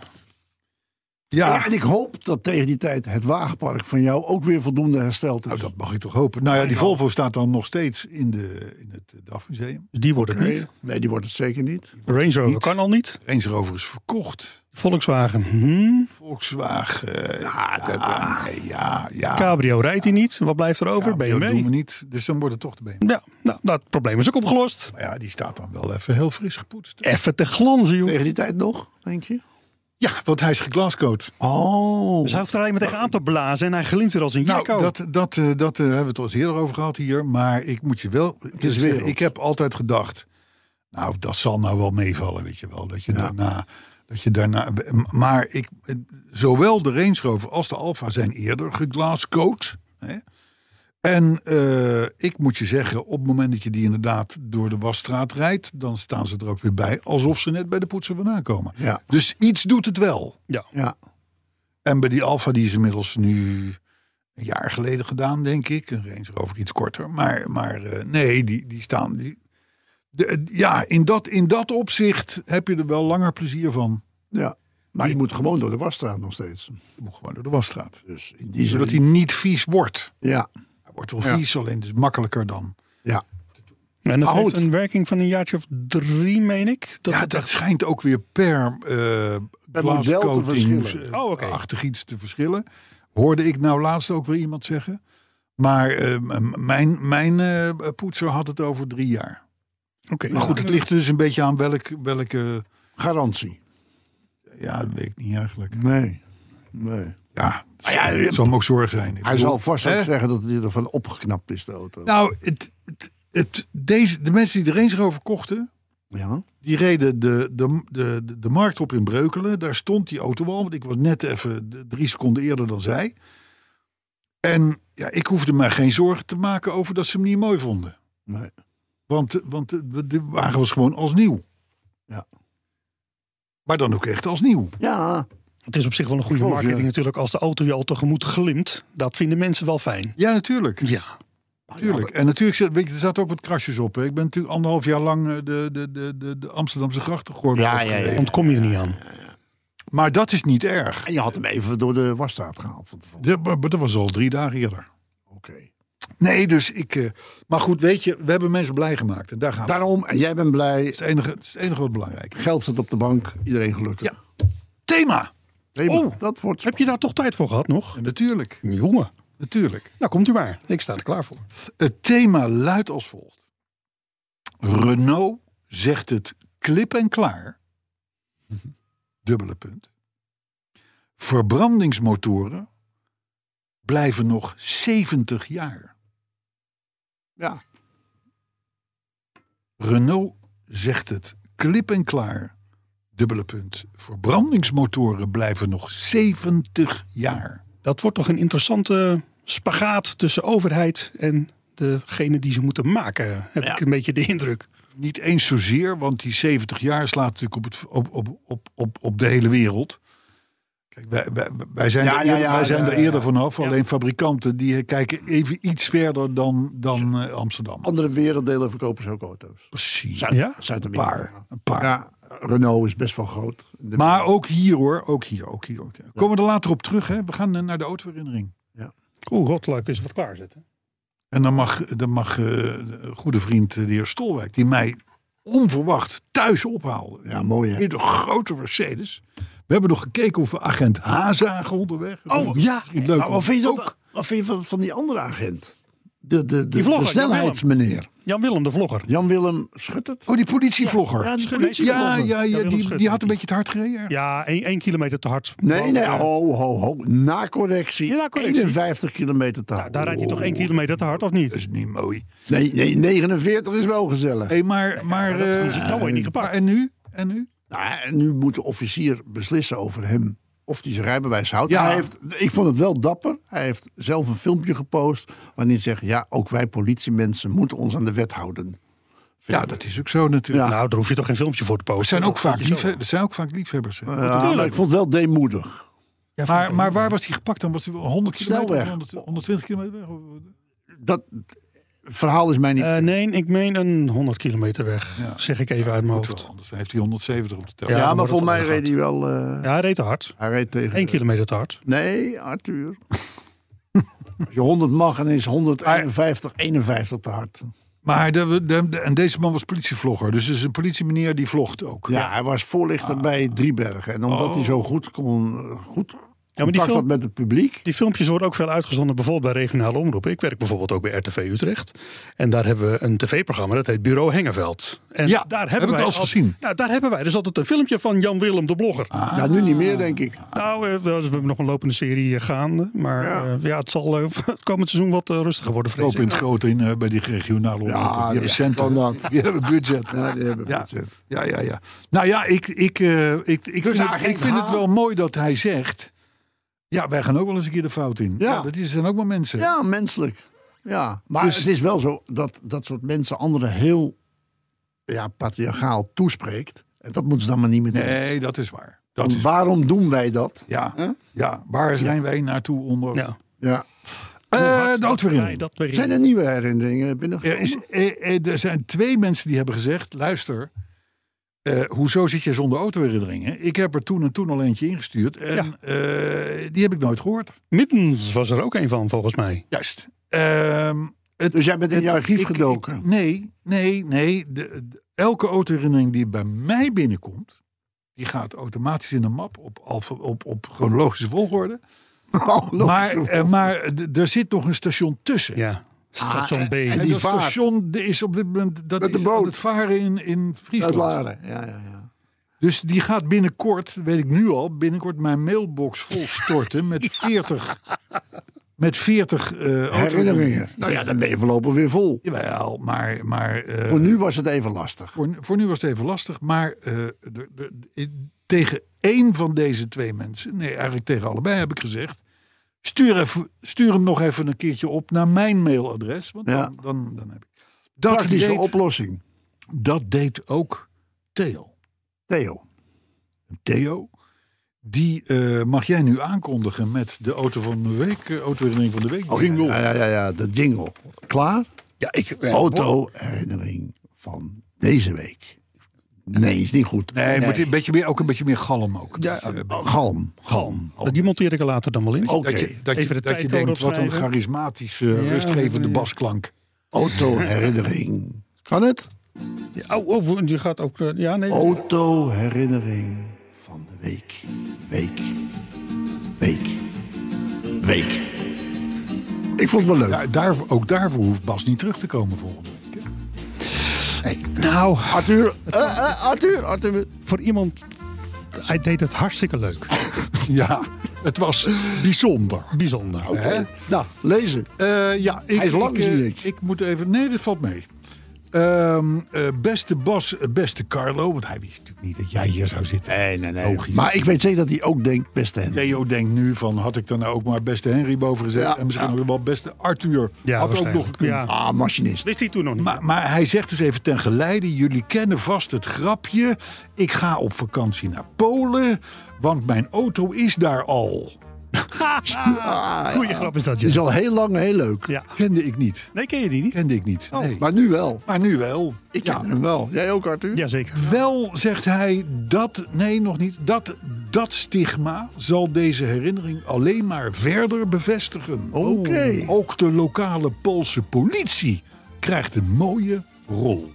Speaker 3: Ja,
Speaker 2: Ja,
Speaker 3: en ik hoop dat tegen die tijd het wagenpark van jou ook weer voldoende hersteld is.
Speaker 2: nou, dat mag ik toch hopen. Nou ja, die Volvo staat dan nog steeds in, de, in het eh, DAF museum.
Speaker 4: Dus die wordt het
Speaker 3: nee,
Speaker 4: niet.
Speaker 3: nee, die wordt het zeker niet.
Speaker 4: Range Rover kan al niet.
Speaker 2: Range Rover is verkocht.
Speaker 4: Volkswagen. hm.
Speaker 2: Volkswagen. eh,
Speaker 3: Ja, dat-
Speaker 2: ja, nee, ja, ja.
Speaker 4: Cabrio rijdt hij niet. Wat blijft er over?
Speaker 2: Ja, dat doen
Speaker 4: BMW.
Speaker 2: we niet. Dus dan wordt het toch de BMW.
Speaker 4: Ja, nou, dat probleem is ook opgelost.
Speaker 2: Maar ja, die staat dan wel even heel fris gepoetst.
Speaker 4: Even te glanzen, joh.
Speaker 3: Tegen die tijd nog, denk je?
Speaker 2: Ja, want hij is geglascoat.
Speaker 3: Oh.
Speaker 4: Dus hij hoeft er alleen maar tegenaan te blazen en hij glimt er als een
Speaker 2: Nou,
Speaker 4: jacko.
Speaker 2: dat, dat, eh, dat eh, hebben we het al eens eerder over gehad hier. Maar ik moet je wel. Het
Speaker 3: is wereld.
Speaker 2: ik heb altijd gedacht. Nou, dat zal nou wel meevallen, weet je wel. Dat je daarna. Dat je daarna maar ik, eh, zowel de Range Rover als de Alfa zijn eerder geglascoat. Hè? En eh, ik moet je zeggen, op het moment dat je die inderdaad door de wasstraat rijdt, dan staan ze er ook weer bij, alsof ze net bij de poetsen vandaan komen.
Speaker 3: Ja.
Speaker 2: Dus iets doet het wel.
Speaker 4: Ja.
Speaker 3: Ja.
Speaker 2: En bij die Alfa, die is inmiddels nu een jaar geleden gedaan, denk ik. Een Range Rover iets korter. Maar, maar eh, nee, die, die staan... Die, de- ja, in dat, in dat opzicht heb je er wel langer plezier van.
Speaker 3: ja. Maar je moet gewoon door de wasstraat nog steeds.
Speaker 2: Je moet gewoon door de wasstraat.
Speaker 3: Dus in die
Speaker 2: Zodat hij niet vies wordt.
Speaker 3: Ja.
Speaker 2: Hij wordt wel vies, alleen dus makkelijker dan.
Speaker 3: Ja.
Speaker 4: En dat
Speaker 3: Maar
Speaker 4: heeft
Speaker 3: goed.
Speaker 4: een werking van een jaartje of drie, meen ik. Dat
Speaker 2: Ja,
Speaker 4: het-
Speaker 2: dat schijnt ook weer per eh
Speaker 3: model te
Speaker 2: glascoatings
Speaker 3: verschillen.
Speaker 2: eh,
Speaker 4: Oh, oké.
Speaker 2: achtig iets te verschillen. Hoorde ik nou laatst ook weer iemand zeggen. Maar eh, m- mijn, mijn eh, poetser had het over drie jaar.
Speaker 4: Oké.
Speaker 2: Maar goed, het ligt er dus een beetje aan welk, welke...
Speaker 3: Garantie.
Speaker 2: Ja, dat weet ik niet eigenlijk.
Speaker 3: Nee. nee.
Speaker 2: Ja, het
Speaker 3: ja,
Speaker 2: zal- het zal hem ook zorg zijn. Ik
Speaker 3: Hij
Speaker 2: bedoel,
Speaker 3: zal vast ook
Speaker 2: hè?
Speaker 3: zeggen dat hij ervan opgeknapt is, de auto.
Speaker 2: Nou, het, het, het, deze, de mensen die er eens over kochten...
Speaker 3: Ja.
Speaker 2: Die reden de, de, de, de, de markt op in Breukelen. Daar stond die auto al. Want ik was net even d- drie seconden eerder dan zij. En ja, ik hoefde mij geen zorgen te maken over dat ze hem niet mooi vonden.
Speaker 3: Nee.
Speaker 2: Want, eh, want de, de wagen was gewoon als nieuw.
Speaker 3: Ja.
Speaker 2: Maar dan ook echt als nieuw.
Speaker 3: Ja.
Speaker 4: Het is op zich wel een goede
Speaker 3: Geloof je?
Speaker 4: marketing natuurlijk. Als de auto je al tegemoet glimt, dat vinden mensen wel fijn.
Speaker 2: Ja, natuurlijk.
Speaker 4: Ja.
Speaker 2: natuurlijk. En natuurlijk, zat- weet je, er zaten ook wat krasjes op. Hè. Ik ben natuurlijk anderhalf jaar lang eh, de, de, de, de, de Amsterdamse grachten geworden.
Speaker 3: Ja, ja, ja.
Speaker 4: Ontkom je er niet aan.
Speaker 2: Maar dat is niet erg.
Speaker 3: En je had hem even door de wasstraat gehaald van tevoren.
Speaker 2: Ja, maar maar dat was al drie dagen eerder.
Speaker 3: Oké.
Speaker 2: Nee, dus ik. eh, maar goed, weet je, we hebben mensen blij gemaakt. En daar gaan we. Dat
Speaker 3: Daarom, en jij bent blij.
Speaker 2: is het enige, het is het enige wat belangrijk is.
Speaker 3: Geld zit op de bank. Iedereen gelukkig.
Speaker 2: Ja. Thema!
Speaker 3: Nee, maar
Speaker 4: Oh.
Speaker 3: dat wordt...
Speaker 4: Heb je daar toch tijd voor gehad nog?
Speaker 2: En natuurlijk,
Speaker 4: Jongen,
Speaker 2: natuurlijk.
Speaker 4: nou komt u maar. Ik sta er klaar voor.
Speaker 2: Het thema luidt als volgt: Renault zegt het klip en klaar. Dubbele punt. Verbrandingsmotoren blijven nog 70 jaar.
Speaker 3: Ja.
Speaker 2: Renault zegt het klip en klaar. Dubbele punt. Verbrandingsmotoren blijven nog 70 jaar.
Speaker 4: Dat wordt toch een interessante spagaat tussen overheid en degene die ze moeten maken. Heb ik een beetje de indruk.
Speaker 2: Niet eens zozeer, want die 70 jaar slaat natuurlijk op, het, op, op, op, op, op de hele wereld. Kijk, wij, wij, wij zijn
Speaker 3: Ja,
Speaker 2: er
Speaker 3: ja,
Speaker 2: eerder,
Speaker 3: ja,
Speaker 2: wij zijn
Speaker 3: ja,
Speaker 2: er
Speaker 3: ja.
Speaker 2: eerder vanaf. Alleen fabrikanten die eh, kijken even iets verder dan, dan eh, Amsterdam.
Speaker 3: Andere werelddelen verkopen ze ook auto's.
Speaker 2: Precies.
Speaker 4: Ja?
Speaker 2: Een paar. Een paar.
Speaker 3: Ja, Renault is best wel groot. De-
Speaker 2: Maar ook hier hoor, ook hier, ook hier. Ook hier. Komen we er later op terug, hè? We gaan eh, naar de autoherinnering.
Speaker 4: Oeh, rotluik is wat klaarzetten.
Speaker 2: En dan mag, dan mag eh, de goede vriend eh, de heer Stolwijk, die mij onverwacht thuis ophaalde.
Speaker 3: Ja, mooi hè.
Speaker 2: In de grote Mercedes. We hebben nog gekeken of we agent H zagen onderweg.
Speaker 3: Oh ja,
Speaker 2: Misschien leuk
Speaker 3: Maar wat
Speaker 2: om-
Speaker 3: vind je, dat, wat vind je van, van die andere agent? De, de, de,
Speaker 4: Die vlogger,
Speaker 3: de snelheidsmeneer.
Speaker 4: Jan-Willem de Vlogger.
Speaker 3: Jan-Willem Schuttert.
Speaker 2: Oh, die politievlogger.
Speaker 3: Ja,
Speaker 2: Ja,
Speaker 3: die
Speaker 4: Schut-
Speaker 3: politie-
Speaker 4: nee,
Speaker 2: ja,
Speaker 4: Schut-
Speaker 2: ja,
Speaker 4: Jan-Willem
Speaker 2: die,
Speaker 4: Schut-
Speaker 2: die had een beetje het hard gereden. hè?
Speaker 4: Ja, één, één kilometer te hard.
Speaker 3: Nee, nee,
Speaker 4: Oh,
Speaker 3: ho, ho, ho. eh, Na correctie.
Speaker 4: Ja, na correctie.
Speaker 3: 51 kilometer te hard.
Speaker 4: Daar rijdt hij toch één kilometer te hard, of niet?
Speaker 2: Dat is niet mooi.
Speaker 3: Nee, nee, 49 is wel gezellig.
Speaker 2: Hé, maar... maar
Speaker 4: dat is
Speaker 2: eh,
Speaker 4: niet- nou word je niet gepakt.
Speaker 2: maar En nu? En nu?
Speaker 3: Nou, ja, en nu moet de officier beslissen over hem of hij zijn rijbewijs houdt.
Speaker 2: Ja.
Speaker 3: Hij heeft, ik vond het wel dapper. Hij heeft zelf een filmpje gepost waarin hij zegt... ja, ook wij politiemensen moeten ons aan de wet houden.
Speaker 2: Ja, dat is ook zo natuurlijk.
Speaker 4: Nou, daar hoef je toch geen filmpje voor te posten.
Speaker 2: Het zijn ook
Speaker 4: Dat
Speaker 2: vaak,
Speaker 4: vind je zo.
Speaker 2: liefhe- het zijn ook vaak liefhebbers. hè?
Speaker 3: Ja, maar ik vond het wel deemoedig.
Speaker 2: maar, maar waar was hij gepakt dan? Was hij wel 100 kilometer?
Speaker 3: Snelweg.
Speaker 2: 100 120 kilometer weg? Of-
Speaker 3: Dat verhaal is mij niet...
Speaker 4: Eh, nee, ik meen een 100 kilometer weg. Zeg ik even uit mijn
Speaker 2: Moet
Speaker 4: hoofd.
Speaker 2: wel, Anders heeft hij 170 op de tel.
Speaker 3: ja,
Speaker 4: dan
Speaker 3: maar
Speaker 4: wordt
Speaker 3: volgens
Speaker 4: het
Speaker 3: mij reed hij wel... eh,
Speaker 4: Ja, hij reed te hard.
Speaker 3: Hij reed tegen...
Speaker 4: Eén kilometer te hard.
Speaker 3: Nee, Arthur. Als je 100 mag en is 151, 51 te hard.
Speaker 2: Maar de, de- de- en deze man was politievlogger. Dus het is een politiemeneer die vlogt ook.
Speaker 3: Ja, hij was voorlichter bij Driebergen. En omdat hij zo goed kon... Goed
Speaker 4: maar die
Speaker 3: contact had
Speaker 4: film-
Speaker 3: met het publiek...
Speaker 4: Die filmpjes worden ook veel uitgezonden, bijvoorbeeld bij regionale omroepen. Ik werk bijvoorbeeld ook bij RTV Utrecht. En daar hebben we een tv-programma, dat heet Bureau Hengeveld. En
Speaker 2: Ja, heb ik wel eens
Speaker 4: al-
Speaker 2: gezien.
Speaker 4: Nou, daar hebben wij dus altijd een filmpje van Jan Willem de Blogger.
Speaker 3: Ja, nu niet meer, denk ik.
Speaker 4: Nou, eh, wel, dus we hebben nog een lopende serie eh, gaande. Maar ja, ja het zal eh, het komend seizoen wat eh, rustiger worden, vrees
Speaker 2: Koop in
Speaker 4: ik.
Speaker 2: het grote in, eh, bij die regionale omroepen. die hebben centen.
Speaker 3: van dat.
Speaker 2: Die hebben budget.
Speaker 3: Ja, die hebben
Speaker 2: Ja,
Speaker 3: budget.
Speaker 2: ja, ja, ja. Nou ja, ik, ik, eh, ik, ik, vind, het,
Speaker 3: agent
Speaker 2: ik vind het
Speaker 3: H.
Speaker 2: wel mooi dat hij zegt... Ja, wij gaan ook wel eens een keer de fout in. Ja,
Speaker 3: Ja.
Speaker 2: dat is, zijn ook maar mensen.
Speaker 3: Ja, menselijk. Ja, maar
Speaker 2: Dus-
Speaker 3: het is wel zo dat dat soort mensen anderen heel ja, patriarchaal toespreekt. En dat moeten ze dan maar niet meer doen.
Speaker 2: Nee, dat is waar. Dat
Speaker 3: Want
Speaker 2: is,
Speaker 3: waarom doen wij dat?
Speaker 2: ja, ja, waar zijn wij naartoe onder...
Speaker 4: Ja.
Speaker 3: Ja.
Speaker 2: Eh,
Speaker 4: Hoe hard
Speaker 2: de autoherinnering.
Speaker 4: wij dat weer
Speaker 3: Zijn er nieuwe herinneringen
Speaker 2: Er,
Speaker 3: binnengekomen?
Speaker 2: is, eh, eh, er zijn twee mensen die hebben gezegd: luister, eh, hoezo zit je zonder autoherinneringen? Ik heb er toen en toen al eentje ingestuurd en
Speaker 4: Ja.
Speaker 2: eh, die heb ik nooit gehoord.
Speaker 4: Middens was er ook een van, volgens mij.
Speaker 2: Juist. Ehm,
Speaker 3: dus jij bent in je archief
Speaker 2: Ik- ik-
Speaker 3: gedoken.
Speaker 2: nee, nee, nee. De, de- elke autoherinnering die bij mij binnenkomt, die gaat automatisch in een map op, alfa- op, op chronologische volgorde. Maar, eh, maar d- er zit nog een station tussen.
Speaker 4: Ja,
Speaker 3: Ah,
Speaker 4: station B.
Speaker 3: en
Speaker 2: En
Speaker 3: die
Speaker 2: dat
Speaker 3: vaart.
Speaker 2: station de- is op dit moment dat
Speaker 3: Met de
Speaker 2: is aan
Speaker 3: boot.
Speaker 2: het varen in, in
Speaker 3: uit
Speaker 2: Friesland.
Speaker 3: Laren. Ja, ja, ja.
Speaker 2: Dus die gaat binnenkort, weet ik nu al, binnenkort mijn mailbox vol storten met 40. Met 40 eh,
Speaker 3: Herinneringen. Nou ja, dan ben je voorlopig weer vol.
Speaker 2: Jawel, maar. maar eh,
Speaker 3: Voor nu was het even lastig.
Speaker 2: voor, voor nu was het even lastig, maar eh, de- de- de- tegen één van deze twee mensen, nee, eigenlijk tegen allebei heb ik gezegd. Stuur, even, stuur hem nog even een keertje op naar mijn mailadres. Want
Speaker 3: Ja.
Speaker 2: dan, dan, dan heb ik. Dat
Speaker 3: Praktische
Speaker 2: deed,
Speaker 3: oplossing.
Speaker 2: dat deed ook Theo.
Speaker 3: Theo.
Speaker 2: Theo, die eh, mag jij nu aankondigen met de auto van de week, eh, autoherinnering van de week. jingle.
Speaker 3: Ja, ja, ja, ja, de jingle. Klaar?
Speaker 4: Ja, ik,
Speaker 3: Auto-herinnering van deze week. Nee, is niet goed.
Speaker 2: Nee, moet een beetje meer, ook een beetje meer galm ook.
Speaker 4: Ja,
Speaker 2: Dat je-
Speaker 3: Galm, galm.
Speaker 4: Die monteer ik er later dan wel in.
Speaker 3: Oké.
Speaker 2: Oh, dat je, dat
Speaker 4: Even
Speaker 2: je,
Speaker 4: de
Speaker 2: dat je
Speaker 4: tijd
Speaker 2: denkt, wat een
Speaker 4: opschrijven.
Speaker 2: charismatische, rustgevende basklank.
Speaker 3: Auto-herinnering. Kan het?
Speaker 4: Ja, oh, oh, die gaat ook... eh, Ja, nee.
Speaker 3: Oh, Auto-herinnering van de week. Week. Week. Week. Ik vond het wel leuk.
Speaker 2: Ja, daar, ook daarvoor hoeft Bas niet terug te komen volgende week. hè?
Speaker 4: Nou,
Speaker 3: Arthur, eh, eh, Arthur, Arthur.
Speaker 4: voor iemand... Hij deed het hartstikke leuk.
Speaker 2: Ja, het was bijzonder.
Speaker 4: Bijzonder.
Speaker 2: Hè?
Speaker 3: Nou, lezen.
Speaker 2: Eh, ja, ik,
Speaker 3: Hij is lang,
Speaker 2: ik, eh,
Speaker 3: zie ik.
Speaker 2: ik moet even... Nee, dat valt mee. Ehm, eh, beste Bas, eh, beste Carlo. Want hij wist natuurlijk niet dat jij hier zou zitten. Nee, nee, nee. Logisch.
Speaker 3: Maar ik weet zeker dat hij ook denkt, beste Henry.
Speaker 2: Theo denkt nu van, had ik daar nou ook maar beste Henry boven gezet?
Speaker 3: Ja,
Speaker 2: en misschien ook wel beste Arthur.
Speaker 4: Ja,
Speaker 2: had ook nog
Speaker 4: waarschijnlijk.
Speaker 2: gekund.
Speaker 4: Ja.
Speaker 3: Ah, machinist.
Speaker 4: Wist hij toen nog niet.
Speaker 2: Maar, maar hij zegt dus even ten geleide: jullie kennen vast het grapje. Ik ga op vakantie naar Polen, want mijn auto is daar al.
Speaker 4: Goeie grap is dat,
Speaker 3: Die Ah, is
Speaker 4: ja.
Speaker 3: al heel lang heel leuk.
Speaker 4: ja.
Speaker 2: Kende ik niet.
Speaker 4: Nee, ken je die niet?
Speaker 2: Kende ik niet. Nee.
Speaker 3: Maar nu wel.
Speaker 2: Maar nu wel.
Speaker 3: Ik ken hem wel. Jij ook, Arthur?
Speaker 4: Jazeker.
Speaker 2: Wel zegt hij dat, nee nog niet, dat, dat stigma zal deze herinnering alleen maar verder bevestigen.
Speaker 3: Oké.
Speaker 2: Ook de lokale Poolse politie krijgt een mooie rol.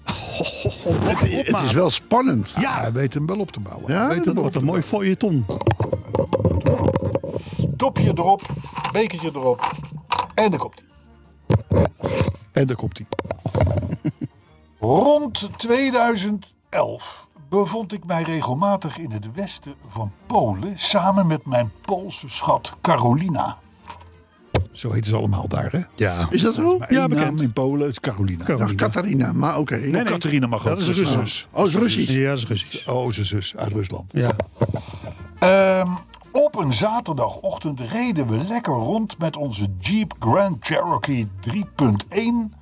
Speaker 3: Het is wel spannend.
Speaker 2: Ja, hij weet hem wel op te bouwen.
Speaker 3: Ja,
Speaker 2: Hij weet
Speaker 4: Dat
Speaker 2: hem
Speaker 4: wordt een mooi feuilleton.
Speaker 2: Topje erop, bekertje erop. En daar komt hij. En daar komt hij. Rond 2011 bevond ik mij regelmatig in het westen van Polen samen met mijn Poolse schat Carolina. Zo heet ze allemaal daar, hè?
Speaker 4: Ja.
Speaker 3: Is dat zo?
Speaker 2: Ja, bekend. in Polen, het is Carolina.
Speaker 3: Ja, Catharina, maar oké.
Speaker 2: Nee, Catharina mag ook.
Speaker 4: Dat is een
Speaker 2: Ze
Speaker 4: Russen.
Speaker 2: zus.
Speaker 3: Oh, is Russisch.
Speaker 4: Ja, dat is Russisch.
Speaker 2: Oh, ze zus uit Rusland.
Speaker 4: Ja.
Speaker 2: Ehm, op een zaterdagochtend reden we lekker rond met onze Jeep Grand Cherokee 3.1.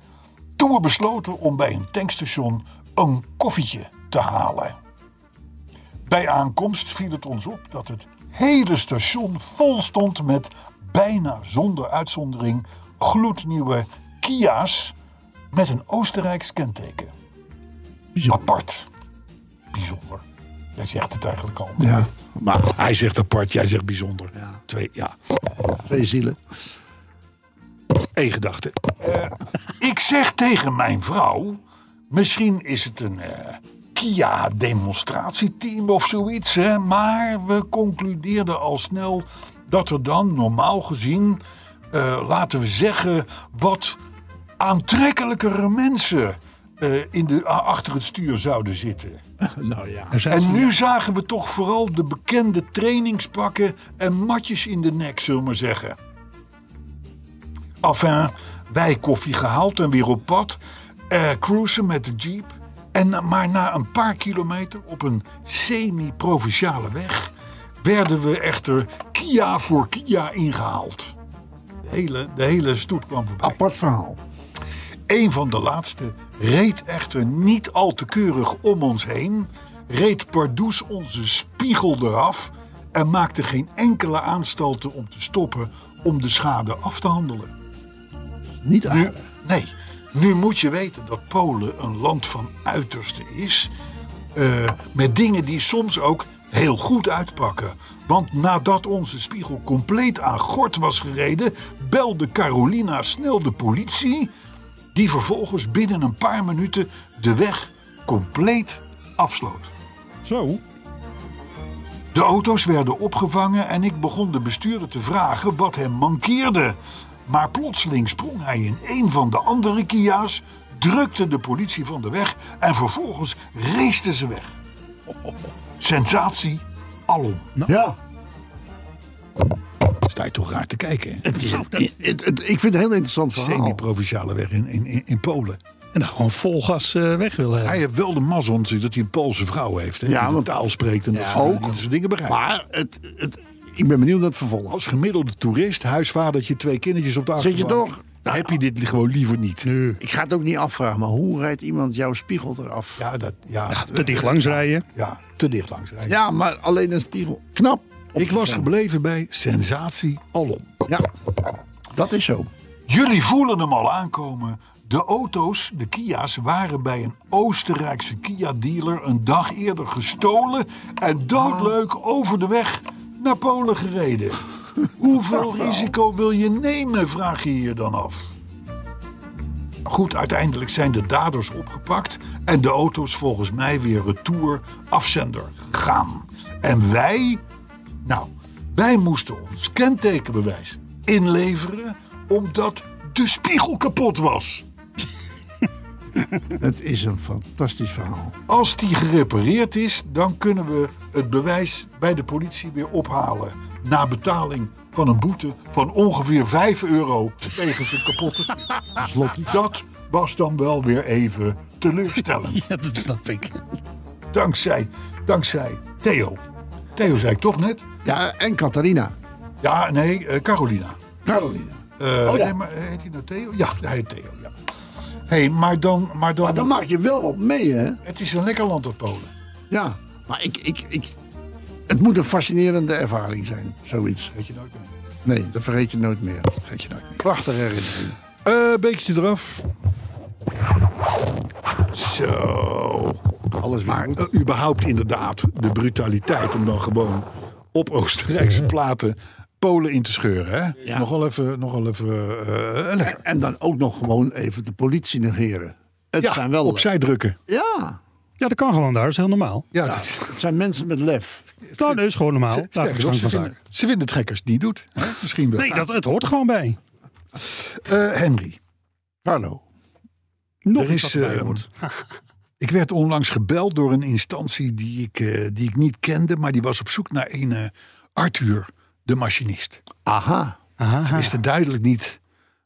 Speaker 2: Toen we besloten om bij een tankstation een koffietje te halen. Bij aankomst viel het ons op dat het hele station vol stond met bijna zonder uitzondering gloednieuwe Kia's met een Oostenrijks kenteken. Apart. Bijzonder. Jij zegt het eigenlijk al.
Speaker 3: Ja.
Speaker 2: Hij zegt apart, jij zegt bijzonder. Twee, ja.
Speaker 3: Twee zielen.
Speaker 2: Eén gedachte. ik zeg tegen mijn vrouw... misschien is het een eh, Kia-demonstratieteam of zoiets... Hè, maar we concludeerden al snel dat er dan normaal gezien... eh, laten we zeggen, wat aantrekkelijkere mensen... eh, in de, a- achter het stuur zouden zitten.
Speaker 3: Nou ja.
Speaker 4: Er zijn
Speaker 2: En nu zagen we toch vooral de bekende trainingspakken en matjes in de nek, zullen we maar zeggen. Enfin, wij koffie gehaald en weer op pad. eh cruisen met de jeep. En, na- maar na een paar kilometer op een semi-provinciale weg... werden we echter Kia voor Kia ingehaald. De hele, de hele stoet kwam voorbij.
Speaker 3: Apart verhaal.
Speaker 2: Een van de laatste reed echter niet al te keurig om ons heen, reed Pardoes onze spiegel eraf en maakte geen enkele aanstalten om te stoppen om de schade af te handelen.
Speaker 3: Niet
Speaker 2: Nu,
Speaker 3: aardig.
Speaker 2: nee, nu moet je weten dat Polen een land van uiterste is. eh, met dingen die soms ook heel goed uitpakken. Want nadat onze spiegel compleet aan gort was gereden, belde Carolina snel de politie. die vervolgens binnen een paar minuten de weg compleet afsloot.
Speaker 1: Zo?
Speaker 2: De auto's werden opgevangen en ik begon de bestuurder te vragen wat hem mankeerde. Maar plotseling sprong hij in een van de andere Kia's, drukte de politie van de weg en vervolgens raceten ze weg. Sensatie alom.
Speaker 3: Ja.
Speaker 2: Sta je toch raar te kijken? hè?
Speaker 3: Het Nou, is, het- het- het- ik vind het een heel interessant verhaal.
Speaker 2: Semi-provinciale weg in, in, in, in Polen.
Speaker 4: En dan gewoon vol gas eh, weg willen hebben.
Speaker 2: Hij heeft wel de mazzel natuurlijk dat hij een Poolse vrouw heeft. Hè,
Speaker 3: Ja,
Speaker 2: die de
Speaker 3: want-
Speaker 2: taal spreekt en dat, ze,
Speaker 3: ook.
Speaker 2: dat ze dingen begrijpt.
Speaker 3: Maar het, het, ik ben benieuwd naar het vervolg.
Speaker 2: Als gemiddelde toerist, huisvadertje, twee kindertjes op de
Speaker 3: Zit je
Speaker 2: achterbank.
Speaker 3: toch?
Speaker 2: dan heb je dit gewoon liever niet.
Speaker 4: Nu,
Speaker 3: Ik ga het ook niet afvragen, maar hoe rijdt iemand jouw spiegel eraf?
Speaker 2: Ja, dat, ja, ja,
Speaker 4: te dicht langs rijden.
Speaker 2: te dicht langs. rijden.
Speaker 3: Ja, maar alleen een spiegel. Knap.
Speaker 2: Ik was gebleven bij sensatie alom.
Speaker 3: Ja, dat is zo.
Speaker 2: Jullie voelen hem al aankomen. De auto's, de Kia's, waren bij een Oostenrijkse Kia-dealer een dag eerder gestolen en doodleuk over de weg naar Polen gereden. Hoeveel risico wil je nemen, vraag je je dan af. Goed, uiteindelijk zijn de daders opgepakt en de auto's volgens mij weer retour afzender gegaan. En wij, nou, wij moesten ons kentekenbewijs inleveren omdat de spiegel kapot was.
Speaker 3: Het is een fantastisch verhaal.
Speaker 2: Als die gerepareerd is, dan kunnen we het bewijs bij de politie weer ophalen. Na betaling van een boete van ongeveer 5 euro tegen zijn kapotte spiegel. Dat was dan wel weer even teleurstellend.
Speaker 4: Ja, dat snap ik.
Speaker 2: Dankzij, dankzij Theo. Theo zei ik toch net?
Speaker 3: Ja, en Catharina.
Speaker 2: Ja, nee, eh, Carolina.
Speaker 3: Carolina.
Speaker 2: Eh,
Speaker 3: Oh ja.
Speaker 2: nee, maar heet hij nou Theo? Ja, hij heet Theo, ja. hey, maar dan... Maar dan,
Speaker 3: Maar dan maak je wel wat mee, hè?
Speaker 2: Het is een lekker land, dat Polen.
Speaker 3: Ja, maar ik, ik, ik... Het moet een fascinerende ervaring zijn, zoiets.
Speaker 2: Weet je nooit meer.
Speaker 3: Nee, dat vergeet je nooit meer.
Speaker 2: Weet je nooit meer.
Speaker 3: Prachtige herinnering.
Speaker 2: Eh, bekertje eraf. Zo.
Speaker 3: Alles weer
Speaker 2: Maar
Speaker 3: goed.
Speaker 2: eh, überhaupt inderdaad de brutaliteit om dan gewoon op Oostenrijkse platen Polen in te scheuren. Hè?
Speaker 3: Ja.
Speaker 2: Nogal even, nogal even eh, lekker.
Speaker 3: En dan ook nog gewoon even de politie negeren. Het
Speaker 2: Ja,
Speaker 3: zijn wel...
Speaker 2: opzij drukken.
Speaker 3: Ja,
Speaker 4: Ja, dat kan gewoon daar. Dat is heel normaal.
Speaker 2: eh, Ja, Nou, dat is-
Speaker 3: het zijn mensen met lef.
Speaker 4: Nou, dat is gewoon normaal.
Speaker 2: sterker
Speaker 4: Daar is
Speaker 2: nog,
Speaker 4: gang
Speaker 2: ze,
Speaker 4: van
Speaker 2: vinden,
Speaker 4: zaken.
Speaker 2: ze vinden het gek als je het niet doet. Hè? Misschien wel.
Speaker 4: Nee, dat, het hoort er gewoon bij.
Speaker 2: Eh, Henry,
Speaker 3: Carlo.
Speaker 4: Nog
Speaker 2: er is,
Speaker 4: iets wat erbij
Speaker 2: eh,
Speaker 4: hoort.
Speaker 2: ik werd onlangs gebeld door een instantie die ik, eh, die ik niet kende, maar die was op zoek naar een eh, Arthur, de machinist.
Speaker 3: Aha.
Speaker 2: Ze wisten duidelijk niet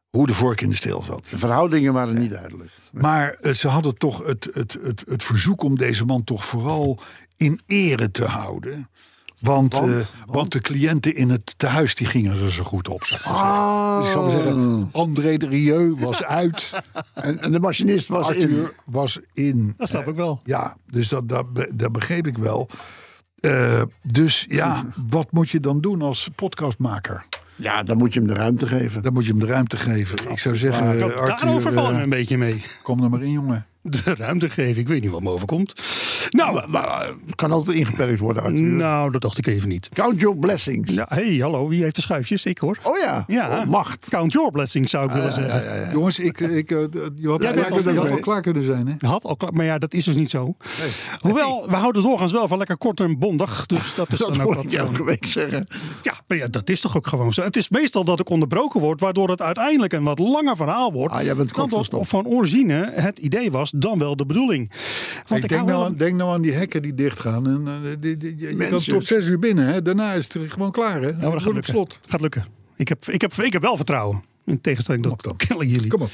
Speaker 2: hoe de vork in de steel zat.
Speaker 3: De verhoudingen waren niet duidelijk.
Speaker 2: Maar eh, ze hadden toch het, het, het, het verzoek om deze man toch vooral in ere te houden. Want, eh,
Speaker 3: Want?
Speaker 2: want? de cliënten in het tehuis die gingen er zo goed op. zou ik maar zeggen. Dus ik zou maar zeggen, André de Rieu was uit.
Speaker 3: En, en de machinist was in.
Speaker 2: Arthur was in.
Speaker 4: Dat snap ik wel.
Speaker 2: Ja, dus dat, dat, be- dat begreep ik wel. Eh, dus ja, wat moet je dan doen als podcastmaker?
Speaker 3: Ja, dan moet je hem de ruimte geven.
Speaker 2: Dan moet je hem de ruimte geven. Ik zou zeggen,
Speaker 4: Nou,
Speaker 2: eh, Arthur,
Speaker 4: daarover vallen
Speaker 2: eh,
Speaker 4: we een beetje mee.
Speaker 2: kom er maar in, jongen.
Speaker 4: De ruimte geven. Ik weet niet wat me overkomt. Nou,
Speaker 3: eh, Kan altijd ingeperkt worden, Arthur.
Speaker 4: nou dat dacht ik even niet.
Speaker 3: Count your blessings.
Speaker 4: Ja, hey, hallo. Wie heeft de schuifjes? Ik hoor.
Speaker 3: Oh ja,
Speaker 4: Ja.
Speaker 3: Oh, macht.
Speaker 4: Count your blessings, zou ik willen zeggen.
Speaker 2: Jongens, ik, ik, eh, je had,
Speaker 4: Jij bent
Speaker 2: je had
Speaker 4: als
Speaker 2: wel
Speaker 4: eerste.
Speaker 2: klaar kunnen zijn, hè?
Speaker 4: Had al klaar, maar ja, dat is dus niet zo. Hoewel, we houden doorgaans wel van lekker kort en bondig. Dus dat is
Speaker 3: Dat
Speaker 2: nou,
Speaker 4: dan ook
Speaker 3: hoor
Speaker 4: wat.
Speaker 3: ik elke week zeggen.
Speaker 4: Ja, maar ja, dat is toch ook gewoon zo. Het is meestal dat ik onderbroken word, waardoor het uiteindelijk een wat langer verhaal wordt.
Speaker 3: Ah, jij bent
Speaker 4: dan
Speaker 3: kort van
Speaker 4: wat
Speaker 3: stof.
Speaker 4: van origine het idee was, dan wel de bedoeling. Want
Speaker 2: Ik
Speaker 4: ik,
Speaker 2: denk
Speaker 4: hou
Speaker 2: nou,
Speaker 4: wel
Speaker 2: aan,
Speaker 4: een-
Speaker 2: denk nou aan die hekken die dichtgaan. En, eh, die- die- je kan
Speaker 3: Mensen.
Speaker 2: tot zes uur binnen, hè? Daarna is het gewoon klaar, hè?
Speaker 4: Ja, maar Oh, dat gaat
Speaker 2: op
Speaker 4: lukken.
Speaker 2: slot.
Speaker 4: Gaat lukken. Ik heb, ik heb, ik heb wel vertrouwen. In tegenstelling
Speaker 2: Kom
Speaker 4: tot
Speaker 2: op dan.
Speaker 4: kellen jullie.
Speaker 2: Kom op.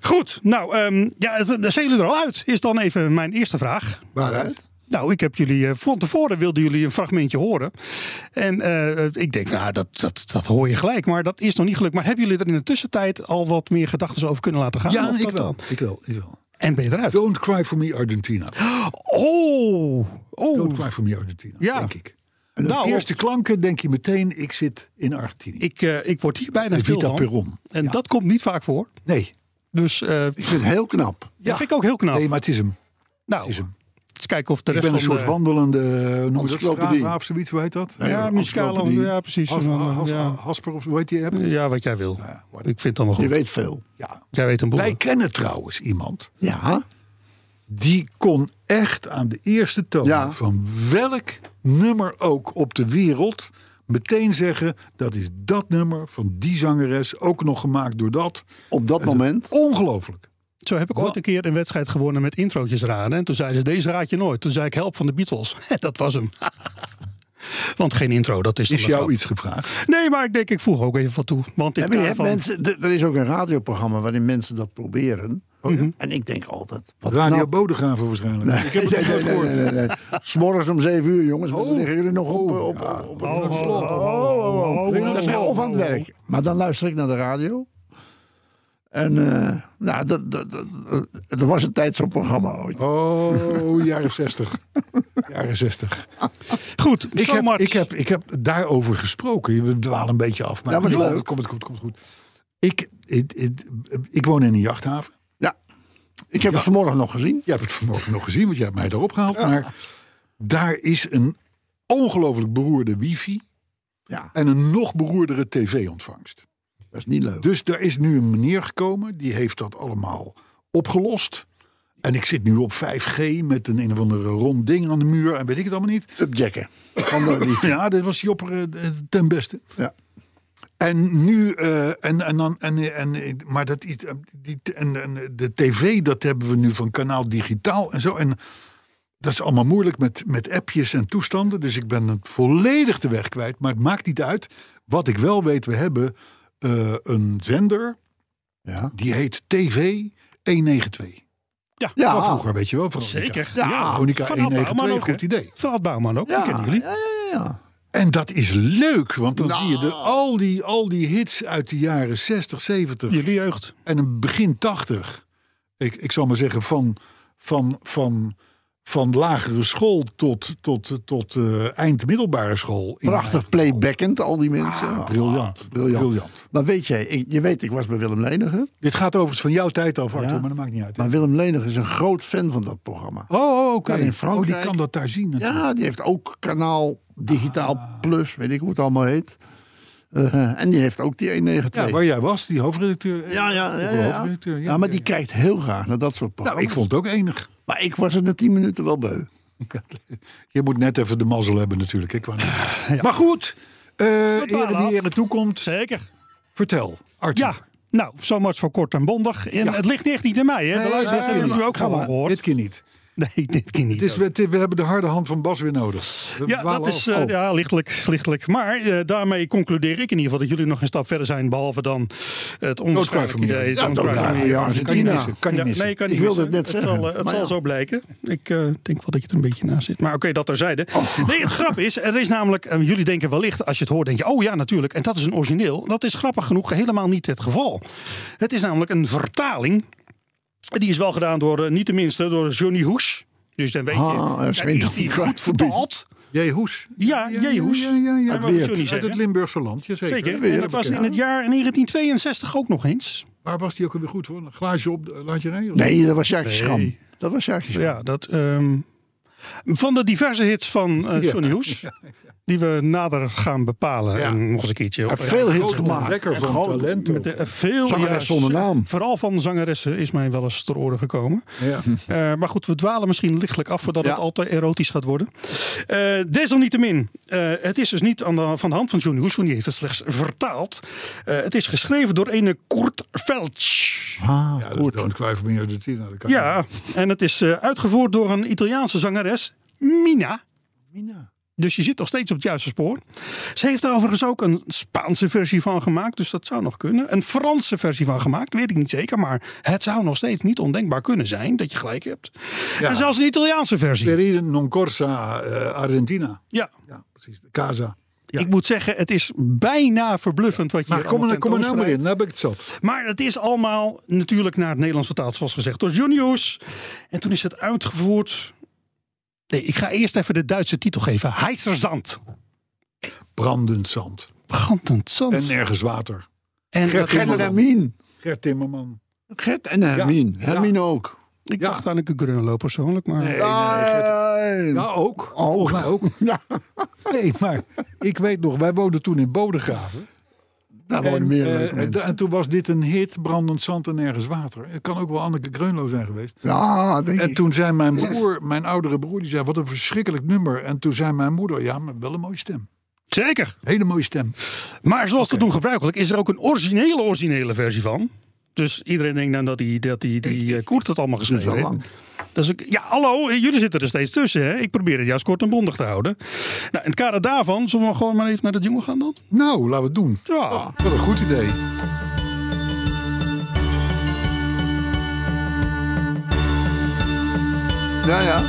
Speaker 4: Goed, nou, ehm, ja, het- daar zijn jullie er al uit. Is dan even mijn eerste vraag.
Speaker 2: Waaruit?
Speaker 4: Nou, ik heb jullie eh, van tevoren wilden jullie een fragmentje horen. En eh, ik denk, nou, dat, dat, dat hoor je gelijk, maar dat is nog niet gelukt. Maar hebben jullie er in de tussentijd al wat meer gedachten over kunnen laten gaan?
Speaker 2: Ja,
Speaker 4: Of
Speaker 2: ik
Speaker 4: dat
Speaker 2: wel.
Speaker 4: dan?
Speaker 2: ik wel. Ik wel.
Speaker 4: En ben je eruit?
Speaker 2: Don't cry for me, Argentina.
Speaker 4: Oh, oh.
Speaker 2: Don't cry for me, Argentina,
Speaker 4: Ja.
Speaker 2: denk ik.
Speaker 4: Nou,
Speaker 2: de eerste klanken denk je meteen, ik zit in Argentinië.
Speaker 4: ik, eh, ik word hier bijna
Speaker 2: De
Speaker 4: stil
Speaker 2: Vita
Speaker 4: van.
Speaker 2: Peron.
Speaker 4: En dat komt niet vaak voor.
Speaker 2: Nee,
Speaker 4: Dus eh,
Speaker 3: Ik vind het heel knap.
Speaker 4: dat vind ik ook heel knap.
Speaker 2: nee, maar het is hem.
Speaker 4: nou,
Speaker 2: is hem.
Speaker 4: het kijken of de
Speaker 2: Ik
Speaker 4: rest
Speaker 2: ben een
Speaker 4: van
Speaker 2: soort
Speaker 4: de-
Speaker 2: wandelende eh, hoe noem je dat,
Speaker 3: Encyclopedie.
Speaker 2: Strava of zoiets, hoe heet dat?
Speaker 4: Ja, muzikale.
Speaker 3: encyclopedie.
Speaker 4: Ja, precies.
Speaker 2: Has-
Speaker 4: Van,
Speaker 2: Has-
Speaker 4: ja.
Speaker 2: Hasper of hoe heet die app?
Speaker 4: Ja, wat jij wil.
Speaker 2: ja,
Speaker 4: ik vind het allemaal
Speaker 3: Je
Speaker 4: goed.
Speaker 3: weet veel.
Speaker 2: Ja.
Speaker 4: Jij weet een boel.
Speaker 2: Wij kennen trouwens iemand
Speaker 3: Ja.
Speaker 2: die kon echt aan de eerste toon
Speaker 3: Ja.
Speaker 2: van welk nummer ook op de wereld meteen zeggen dat is dat nummer van die zangeres ook nog gemaakt door dat.
Speaker 3: Op dat moment.
Speaker 2: Ongelooflijk.
Speaker 4: Zo heb ik ooit een keer een wedstrijd gewonnen met introotjes raden. En toen zeiden ze, deze raad je nooit. Toen zei ik, help van de Beatles. dat was hem. Want geen intro, dat is, dan
Speaker 2: Is
Speaker 4: een
Speaker 2: jou
Speaker 4: grap.
Speaker 2: iets gevraagd?
Speaker 4: Nee, maar ik denk, ik voeg ook even wat toe. Want ik
Speaker 3: Ja, maar je hebt mensen, d- er is ook een radioprogramma waarin mensen dat proberen. En ik denk altijd. Wat
Speaker 2: Radio
Speaker 3: knap.
Speaker 2: Bodegraven waarschijnlijk. Ik heb het nog nooit gehoord.
Speaker 3: Nee, nee, nee. 's morgens om 7 uur, jongens. dan
Speaker 2: Oh.
Speaker 3: liggen jullie nog op, eh, op, op, op, op- Liggen jullie nog Of aan het werk. Maar dan luister ik naar de radio. En eh, nou, dat, dat, dat, dat- er was een tijd zo'n programma ooit.
Speaker 2: Oh, jaren 60. Jaren 60.
Speaker 4: Goed,
Speaker 2: Ik
Speaker 4: so
Speaker 2: heb,
Speaker 4: much.
Speaker 2: ik, heb, ik heb daarover gesproken. We dwalen een beetje af. Maar,
Speaker 3: Ja, maar
Speaker 2: joh,
Speaker 3: leuk.
Speaker 2: Komt het goed, komt het goed. Ik, ik, ik, ik woon in een jachthaven.
Speaker 3: Ja, ik heb het vanmorgen nog gezien.
Speaker 2: Jij hebt het vanmorgen nog gezien, want jij hebt mij erop gehaald. Maar daar is een ongelooflijk beroerde wifi
Speaker 3: Ja,
Speaker 2: en een nog beroerdere tv-ontvangst.
Speaker 3: dat is niet leuk.
Speaker 2: Dus daar is nu een meneer gekomen, die heeft dat allemaal opgelost. En ik zit nu op 5G met een een of andere rond ding aan de muur en weet ik het allemaal niet.
Speaker 3: Subjacken.
Speaker 2: Ja, dat was Jopper eh, ten beste.
Speaker 3: Ja.
Speaker 2: En nu, eh, en, en dan, en, en, maar dat is, eh, die, en, en de tv, dat hebben we nu van kanaal digitaal en zo. En dat is allemaal moeilijk met, met appjes en toestanden. Dus ik ben het volledig de weg kwijt. Maar het maakt niet uit. Wat ik wel weet, we hebben eh, een zender,
Speaker 3: Ja.
Speaker 2: die heet TV 192.
Speaker 3: Ja,
Speaker 2: Van vroeger, weet je wel. Van
Speaker 4: Zeker.
Speaker 2: Ja,
Speaker 4: Ja,
Speaker 2: Veronica
Speaker 4: van Ad Bouwman
Speaker 2: 192,
Speaker 4: ook, hè?
Speaker 2: goed idee.
Speaker 4: Van Bouwman ook,
Speaker 3: Ja,
Speaker 4: die kennen jullie.
Speaker 3: Ja, ja, ja.
Speaker 2: En dat is leuk, want dan
Speaker 3: Nou.
Speaker 2: zie je er al die, al die hits uit de jaren 60, 70
Speaker 4: Jullie jeugd.
Speaker 2: en een begin 80. Ik, ik zal maar zeggen van, van, van, van lagere school tot, tot, tot eh eind middelbare school. In
Speaker 3: Prachtig playbackend, al die mensen.
Speaker 2: mijn- Briljant.
Speaker 3: Briljant.
Speaker 2: Briljant.
Speaker 3: Maar weet jij, ik- je weet, ik was bij Willem Leniger.
Speaker 2: Dit gaat overigens van jouw tijd af, Arthur,
Speaker 3: Ja.
Speaker 2: maar dat maakt niet uit. hè?
Speaker 3: Maar Willem Leniger is een groot fan van dat programma.
Speaker 2: oh, oh, oké.
Speaker 3: Maar in
Speaker 2: Oh,
Speaker 3: Frankrijk-
Speaker 2: die kan dat daar zien. natuurlijk.
Speaker 3: Ja, die heeft ook kanaal Digitaal
Speaker 2: Ah.
Speaker 3: Plus, weet ik hoe het allemaal heet. Eh, en die heeft ook die 192.
Speaker 2: Ja, waar jij was, die hoofdredacteur.
Speaker 3: Ja, ja,
Speaker 2: Ik
Speaker 3: ja,
Speaker 2: ben
Speaker 3: ja.
Speaker 2: hoofdredacteur, ja,
Speaker 3: Ja, maar
Speaker 2: ja,
Speaker 3: die
Speaker 2: ja.
Speaker 3: kijkt heel graag naar dat soort
Speaker 2: Nou,
Speaker 3: programma's.
Speaker 2: ik vond het ook enig.
Speaker 3: Maar ik was er na 10 minuten wel beu.
Speaker 2: Je moet net even de mazzel hebben natuurlijk. Hè, qua-
Speaker 4: Ah,
Speaker 2: Maar goed, eh
Speaker 4: dwalen
Speaker 2: ere
Speaker 4: af.
Speaker 2: die ere toekomt.
Speaker 4: Zeker.
Speaker 2: Vertel, Arthur.
Speaker 4: Ja, nou, zo much voor kort en bondig. En
Speaker 2: Ja.
Speaker 4: het ligt echt niet in mij, hè.
Speaker 2: Nee,
Speaker 4: de luisteraars
Speaker 2: nee,
Speaker 4: hebben het nu
Speaker 2: nee,
Speaker 4: ook
Speaker 2: ga
Speaker 4: gewoon
Speaker 2: maar.
Speaker 4: gehoord.
Speaker 2: Dit keer niet.
Speaker 4: Nee, dit kan niet.
Speaker 2: Het is, we, we hebben de harde hand van Bas weer nodig. We
Speaker 4: Ja,
Speaker 2: dwalen
Speaker 4: dat is
Speaker 2: af.
Speaker 4: eh,
Speaker 2: Oh,
Speaker 4: ja, lichtelijk, lichtelijk. Maar eh, daarmee concludeer ik in ieder geval dat jullie nog een stap verder zijn. Behalve dan het onwaarschijnlijk
Speaker 2: Noodkruidvermeer.
Speaker 4: idee.
Speaker 2: Ja,
Speaker 4: don't
Speaker 2: dat-
Speaker 4: cry for
Speaker 2: ja,
Speaker 4: me.
Speaker 2: ja, kan je
Speaker 3: Argentina.
Speaker 2: missen. Kan je
Speaker 4: Ja,
Speaker 2: missen.
Speaker 4: Nee, je kan
Speaker 3: Ik
Speaker 4: niet
Speaker 3: wilde
Speaker 4: missen.
Speaker 3: het net
Speaker 4: Het
Speaker 3: zeggen,
Speaker 4: zal, eh, het
Speaker 3: maar
Speaker 4: zal
Speaker 3: ja.
Speaker 4: zo blijken. Ik eh, denk wel dat je er een beetje naast zit. Maar oké, dat terzijde. Nee, het grap is, er is namelijk... eh, jullie denken wellicht, als je het hoort, denk je... Oh ja, natuurlijk, en dat is een origineel. Dat is grappig genoeg helemaal niet het geval. Het is namelijk een vertaling. Die is wel gedaan door, eh, niet de minste, door Johnny Hoes. Dus dan weet je,
Speaker 3: Ah, er is
Speaker 4: dan
Speaker 3: geen
Speaker 4: is die goed
Speaker 3: Noodkruidvermeer.
Speaker 4: vertaald.
Speaker 2: J. Hoes.
Speaker 4: Ja, J. Hoes.
Speaker 2: Ja, ja, ja.
Speaker 4: Dat mag ik zo niet
Speaker 2: Uit
Speaker 4: zeggen.
Speaker 2: het Limburgse land, jazeker.
Speaker 4: Zeker.
Speaker 3: Weer,
Speaker 4: En dat was in het jaar 1962 ook nog eens.
Speaker 2: Waar was die ook weer goed voor? Een glaasje op, de- laat je rijden?
Speaker 3: Nee, dat was Sjaakje
Speaker 4: Nee.
Speaker 3: Schram. Dat was Sjaakje Schram.
Speaker 4: Ja, dat, ehm, van de diverse hits van eh
Speaker 2: Ja.
Speaker 4: Johnny Hoes. Die we nader gaan bepalen.
Speaker 2: Ja.
Speaker 4: En nog eens een keertje.
Speaker 3: Hij
Speaker 4: op-
Speaker 3: heeft veel hits
Speaker 2: Grote
Speaker 3: gemaakt.
Speaker 2: ontdekker van
Speaker 3: Grote-
Speaker 2: talent. ook.
Speaker 4: met, eh, veel,
Speaker 3: Zangeres
Speaker 4: ja,
Speaker 3: zonder naam.
Speaker 4: Vooral van zangeressen is mij wel eens ter oren gekomen.
Speaker 2: Ja.
Speaker 4: Eh, maar goed, we dwalen misschien lichtelijk af voordat
Speaker 3: Ja.
Speaker 4: het altijd erotisch gaat worden. Eh, desalniettemin, eh, het is dus niet aan de, van de hand van Johnny Hoes, want die heeft het slechts vertaald. Eh, het is geschreven door een Kurt Veltsch.
Speaker 3: Ah,
Speaker 2: Ja, dat is
Speaker 3: goed.
Speaker 2: Don't Cry for Me uit de Tina. dat kan niet.
Speaker 4: Ja, en het is eh, uitgevoerd door een Italiaanse zangeres, Mina.
Speaker 3: Mina.
Speaker 4: Dus je zit nog steeds op het juiste spoor. Ze heeft er overigens ook een Spaanse versie van gemaakt, dus dat zou nog kunnen. Een Franse versie van gemaakt, weet ik niet zeker. Maar het zou nog steeds niet ondenkbaar kunnen zijn dat je gelijk hebt.
Speaker 2: Ja.
Speaker 4: En zelfs een Italiaanse versie.
Speaker 2: Perire non corsa eh, Argentina.
Speaker 4: Ja,
Speaker 2: Ja, precies. Casa.
Speaker 4: ik moet zeggen, het is bijna verbluffend wat je
Speaker 2: Maar
Speaker 4: hier
Speaker 2: kom,
Speaker 4: allemaal
Speaker 2: er- kom er nou maar in,
Speaker 4: tentoonspreidt.
Speaker 2: nou heb ik het zat.
Speaker 4: Maar het is allemaal natuurlijk naar het Nederlands vertaald, zoals gezegd, door Juniors. En toen is het uitgevoerd. Nee, ik ga eerst even de Duitse titel geven: Heiserzand.
Speaker 2: Brandend zand.
Speaker 4: Brandend
Speaker 2: En eh,
Speaker 4: zand.
Speaker 2: nergens water.
Speaker 4: En, dat-
Speaker 3: Gert en Hermine.
Speaker 2: Gert Timmerman.
Speaker 3: Gert en Hermine. Hermine ook.
Speaker 4: eh, Ik
Speaker 2: Ja.
Speaker 4: dacht aan een Grunlo persoonlijk, maar...
Speaker 3: Nee.
Speaker 2: Ja, ook.
Speaker 3: Oh.
Speaker 2: Volgens mij ook.
Speaker 3: Ja,
Speaker 2: Nee, maar ik weet nog, wij woonden toen in Bodegraven.
Speaker 3: daar wonen meer
Speaker 2: eh,
Speaker 3: leuke
Speaker 2: en,
Speaker 3: mensen.
Speaker 2: en toen was dit een hit, brandend zand en ergens water. Het kan ook wel Anneke Greunlo zijn geweest.
Speaker 3: Ja, denk
Speaker 2: En
Speaker 3: ik.
Speaker 2: toen zei mijn broer, mijn oudere broer, die zei: Wat een verschrikkelijk nummer. En toen zei mijn moeder: Ja, maar wel een mooie stem.
Speaker 4: Zeker!
Speaker 2: Hele mooie stem.
Speaker 4: Maar zoals te doen gebruikelijk is er ook een originele, originele versie van. Dus iedereen denkt dan dat die, dat die, die eh, Koert het allemaal geschreven
Speaker 3: al
Speaker 4: heeft.
Speaker 3: lang.
Speaker 4: Dat is ook, ja, hallo, eh, jullie zitten er steeds tussen. Hè? Ik probeer het juist kort en bondig te houden. Nou, in het kader daarvan, zullen we gewoon maar even naar de jongen gaan dan?
Speaker 2: Nou, laten we het doen.
Speaker 4: Ja.
Speaker 2: Wat een goed idee.
Speaker 3: Ja, ja.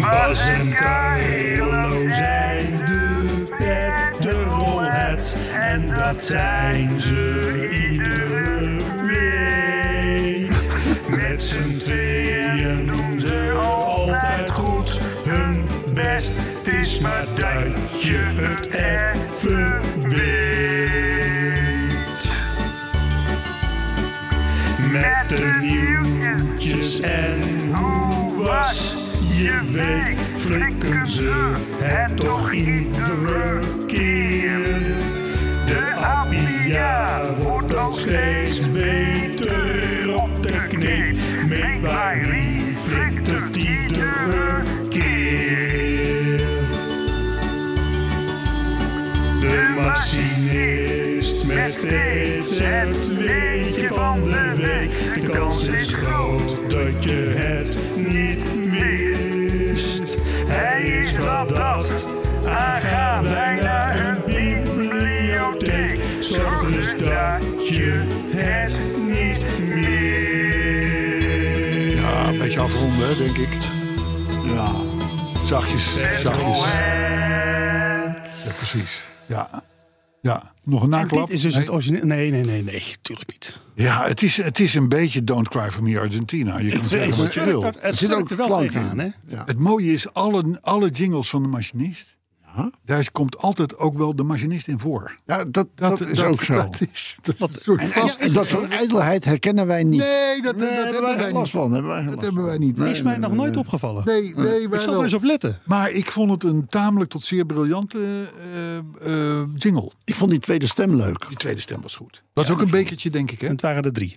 Speaker 4: Bas en Carlo zijn de petrolheads. En dat zijn ze iedere week. Met z'n tweeën doen ze altijd goed hun best. Het is maar dat je het even weet. Met de nieuwtjes en hoe was je week? Flikken ze het toch iedere keer. De Appia wordt ook steeds beter op de knie. Met Barry flikt het iedere keer. De machinist met steeds het weetje van de week. De kans is groot dat je het niet mist. Hij is wat dat. Aangaan bijna een bibliotheek. Zorg dus dat je het niet mist.
Speaker 2: Ja, een beetje afronden, hè, denk ik.
Speaker 3: Ja,
Speaker 2: Zachtjes, zachtjes. Ja, precies. Ja. Ja, nog een naklap.
Speaker 3: dus
Speaker 2: Nee.
Speaker 4: dus origineel. Nee, nee, nee, nee, tuurlijk niet.
Speaker 2: Ja, het is, het is een beetje Don't Cry for Me Argentina. Je kan zeggen wat je wil.
Speaker 4: Het
Speaker 3: zit ook klank in.
Speaker 2: Het mooie is, alle, alle jingles van de machinist... daar is- komt altijd ook wel de machinist in voor.
Speaker 3: ja dat, dat, is ook zo.
Speaker 2: Dat is, dat is een soort vast...
Speaker 3: en dat soort ijdelheid herkennen wij niet.
Speaker 2: Nee, dat, dat,
Speaker 3: Nee, daar
Speaker 2: hebben
Speaker 3: hebben
Speaker 2: wij
Speaker 3: wij last
Speaker 2: niet.
Speaker 3: van. Hebben wij geen
Speaker 2: Dat
Speaker 3: last
Speaker 2: hebben
Speaker 3: van.
Speaker 2: wij niet.
Speaker 4: Is mij nog nooit opgevallen.
Speaker 2: Nee, nee,
Speaker 4: Ik
Speaker 2: wij
Speaker 4: zal er
Speaker 3: dus
Speaker 2: wel.
Speaker 4: eens op letten.
Speaker 2: Maar ik vond het een tamelijk tot zeer briljante eh, eh, jingle.
Speaker 3: Ik vond die tweede stem leuk.
Speaker 2: Die tweede stem was goed. Dat is ook een bekertje, denk ik, hè?
Speaker 4: En het waren er drie.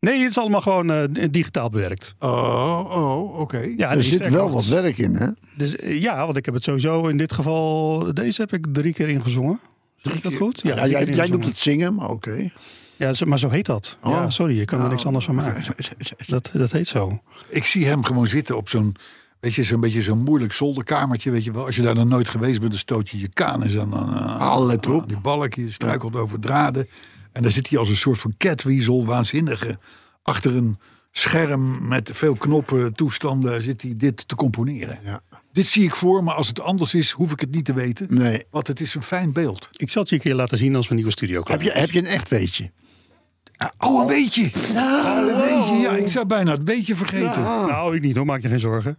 Speaker 4: Nee, het is allemaal gewoon eh, digitaal bewerkt.
Speaker 2: Oh, oh, oké.
Speaker 4: Ja,
Speaker 3: er
Speaker 4: die
Speaker 3: zit
Speaker 4: sterker
Speaker 3: wel
Speaker 4: nog,
Speaker 3: wat werk in, hè?
Speaker 4: Dus, eh, ja, want ik heb het sowieso in dit geval... Deze heb ik drie keer ingezongen. Zeg ik dat goed? drie
Speaker 3: Ja, jij,
Speaker 4: keer
Speaker 3: jij
Speaker 4: ingezongen.
Speaker 3: noemt het Oh. zingen, maar oké.
Speaker 4: Ja, zo- maar zo heet dat. Ja, sorry, ik kan er niks anders van maken. Dat, dat heet zo.
Speaker 2: Ik zie hem gewoon zitten op zo'n... Weet je, zo'n beetje zo'n moeilijk zolderkamertje, weet je wel. Als je daar nog nooit geweest bent, dan stoot je je kaan en dan...
Speaker 3: Allerlei troep.
Speaker 2: Die balkje struikelt over draden. En dan zit hij als een soort van catweasel, waanzinnige. Achter een scherm met veel knoppen, toestanden, zit hij dit te componeren.
Speaker 3: Ja.
Speaker 2: Dit zie ik voor, maar als het anders is, hoef ik het niet te weten.
Speaker 3: Nee.
Speaker 2: Want het is een fijn beeld.
Speaker 4: Ik zal het je een keer laten zien als mijn nieuwe studio klaar
Speaker 3: Heb je, heb je een echt weetje?
Speaker 2: Oh, een beetje. Ja, een beetje. Ja, ik zou bijna het beetje vergeten.
Speaker 4: is.
Speaker 3: Ah.
Speaker 4: Nou, ik niet hoor, maak je geen zorgen.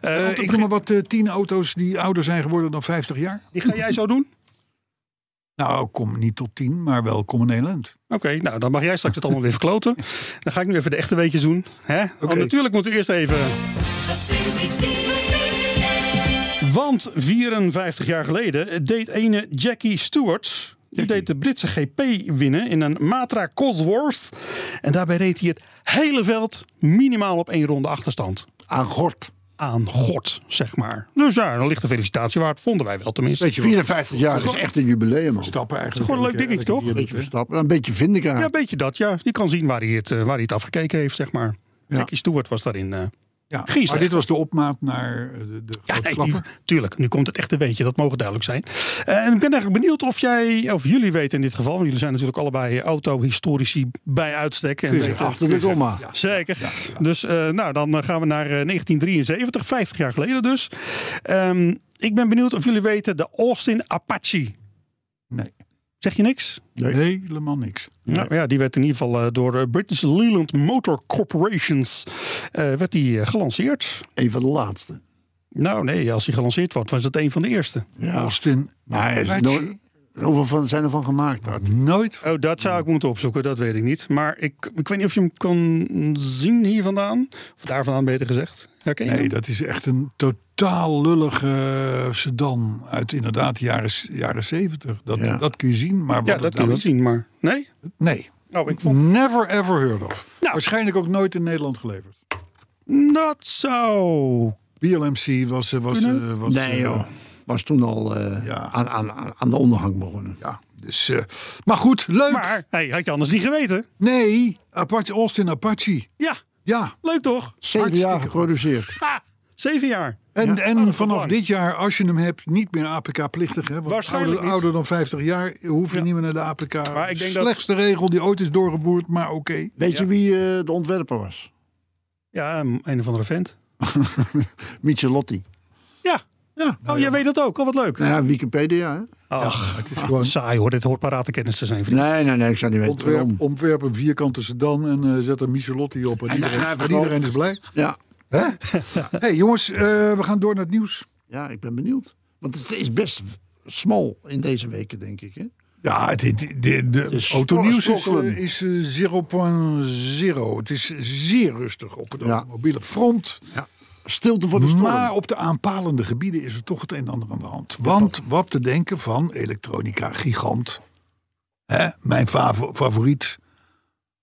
Speaker 4: Eh,
Speaker 2: Eh,
Speaker 4: om te
Speaker 2: ik noem
Speaker 4: beginnen-
Speaker 2: maar wat, eh, tien auto's die ouder zijn geworden dan 50 jaar.
Speaker 4: Die ga jij zo doen?
Speaker 2: Nou, kom niet tot tien, maar wel kom in Nederland.
Speaker 4: Oké, nou dan mag jij straks het allemaal weer verkloten. Dan ga ik nu even de echte weetjes doen. Hè? Want natuurlijk moeten we eerst even. Want 54 jaar geleden deed ene Jackie Stewart. Die deed de Britse GP winnen in een Matra Cosworth. En daarbij reed hij het hele veld minimaal op één ronde achterstand.
Speaker 3: Aan gort.
Speaker 4: Aan God, zeg maar. Dus ja, dan ligt de felicitatie waard. Vonden wij wel tenminste.
Speaker 2: Weet je wat?
Speaker 3: 54 jaar dat is echt een jubileum. man.
Speaker 2: Stappen eigenlijk.
Speaker 4: Gewoon een leuk
Speaker 2: elke-
Speaker 4: dingetje,
Speaker 2: elke
Speaker 4: toch?
Speaker 2: keer
Speaker 3: Beetje
Speaker 2: doet, hè?
Speaker 3: verstappen. Een beetje vind ik
Speaker 4: Ja,
Speaker 3: aan.
Speaker 4: een beetje dat, ja. Je kan zien waar hij het, eh, waar hij het afgekeken heeft, zeg maar.
Speaker 3: Ja.
Speaker 4: Jackie Stewart was daarin. eh
Speaker 2: Ja,
Speaker 4: Gies,
Speaker 2: maar
Speaker 4: hè?
Speaker 2: dit was de opmaat naar eh, de, de grote
Speaker 4: ja,
Speaker 2: klapper.
Speaker 4: nu- tuurlijk, nu komt het echte weetje, dat mogen duidelijk zijn. Eh, en ik ben eigenlijk benieuwd of jij, of jullie weten in dit geval, want jullie zijn natuurlijk allebei auto-historici bij uitstek. En weten-
Speaker 3: Achter de komma.
Speaker 4: Zeker. Dus eh, nou, dan eh, gaan we naar eh, 1973, 50 jaar geleden dus. Ehm, ik ben benieuwd of jullie weten de Austin Apache.
Speaker 2: Nee.
Speaker 4: Zeg je niks?
Speaker 2: Helemaal niks.
Speaker 4: Nou ja, die werd in ieder geval eh, door eh, British Leland Motor Corporations eh, werd die, eh, gelanceerd.
Speaker 3: Een van de laatste.
Speaker 4: Nou nee, als die gelanceerd wordt, was het een van de eerste.
Speaker 3: Ja.
Speaker 2: Austin.
Speaker 3: Maar hij is
Speaker 2: Apache.
Speaker 3: nooit- Hoeveel van, zijn er van gemaakt? Art?
Speaker 2: Nooit.
Speaker 4: Oh, dat zou ik moeten opzoeken, dat weet ik niet. Maar ik, ik weet niet of je hem kan zien hier vandaan. Of daar vandaan, beter gezegd. Herken je
Speaker 2: Nee,
Speaker 4: hem?
Speaker 2: dat is echt een totaal lullige sedan uit inderdaad de jaren, jaren 70. Dat,
Speaker 3: Ja.
Speaker 2: dat kun je zien, maar wat
Speaker 4: Ja,
Speaker 2: het
Speaker 4: dat kun je wel
Speaker 2: nou
Speaker 4: zien, maar... Nee?
Speaker 2: is- Nee,
Speaker 4: Oh, ik vond...
Speaker 2: never ever heard of.
Speaker 4: Nou.
Speaker 2: Waarschijnlijk ook nooit in Nederland geleverd.
Speaker 4: Dat zou...
Speaker 2: BLMC was... eh, was, eh, was
Speaker 3: Nee
Speaker 2: eh,
Speaker 3: joh, was toen al eh,
Speaker 2: Ja.
Speaker 3: aan, aan, aan- aan de ondergang begonnen.
Speaker 2: Ja, dus, eh, maar goed, leuk.
Speaker 4: Maar, hey, had je anders niet geweten?
Speaker 2: Nee, Apache, Austin Apache.
Speaker 4: Ja,
Speaker 2: Ja,
Speaker 4: leuk toch?
Speaker 3: Zeven jaar
Speaker 2: Hartstikke
Speaker 3: geproduceerd.
Speaker 4: Ha! Zeven jaar.
Speaker 2: en, en
Speaker 4: Oh, dat is
Speaker 2: vanaf
Speaker 4: lang.
Speaker 2: dit jaar, als je hem hebt, niet meer APK-plichtig. Hè? Want
Speaker 4: Waarschijnlijk
Speaker 2: ouder,
Speaker 4: niet.
Speaker 2: ouder dan 50 jaar hoef je niet meer naar de APK.
Speaker 4: Maar ik denk dat-
Speaker 2: Slechtste regel die ooit is doorgevoerd, maar oké.
Speaker 3: Weet
Speaker 4: Ja.
Speaker 3: je wie eh, de ontwerper was?
Speaker 4: Ja, een een of andere vent.
Speaker 3: Michelotti.
Speaker 4: Ja. ja. Oh, jij weet dat ook. Oh, wat leuk.
Speaker 3: Nou ja, Wikipedia hè?
Speaker 4: Ach,
Speaker 2: Het is gewoon
Speaker 4: saai hoor. Dit hoort paratenkennis te zijn, vriend.
Speaker 3: Nee, nee, nee, ik zou niet weten
Speaker 2: ontwerp,
Speaker 3: waarom.
Speaker 2: ontwerp een vierkante sedan en eh, zet er Michelotti op. En, iedereen,
Speaker 3: hij
Speaker 2: en
Speaker 3: verkoopt.
Speaker 2: iedereen is blij.
Speaker 3: Ja.
Speaker 2: Hè? hey, jongens, eh, we gaan door naar het nieuws.
Speaker 3: ja, ik ben benieuwd. Want het is best smal in deze weken, denk ik. Hè?
Speaker 2: Ja, het, het, de, de,
Speaker 3: is
Speaker 2: autonieuws is,
Speaker 3: sprokkelen.
Speaker 2: eh, is eh, 0.0. Het is zeer rustig op het
Speaker 3: Ja.
Speaker 2: automobiele front.
Speaker 3: Stilte voor de storm.
Speaker 2: Maar op de aanpalende gebieden is er toch het een en ander aan de hand. Want wat te denken van elektronica gigant. Hè? Mijn favo- favoriet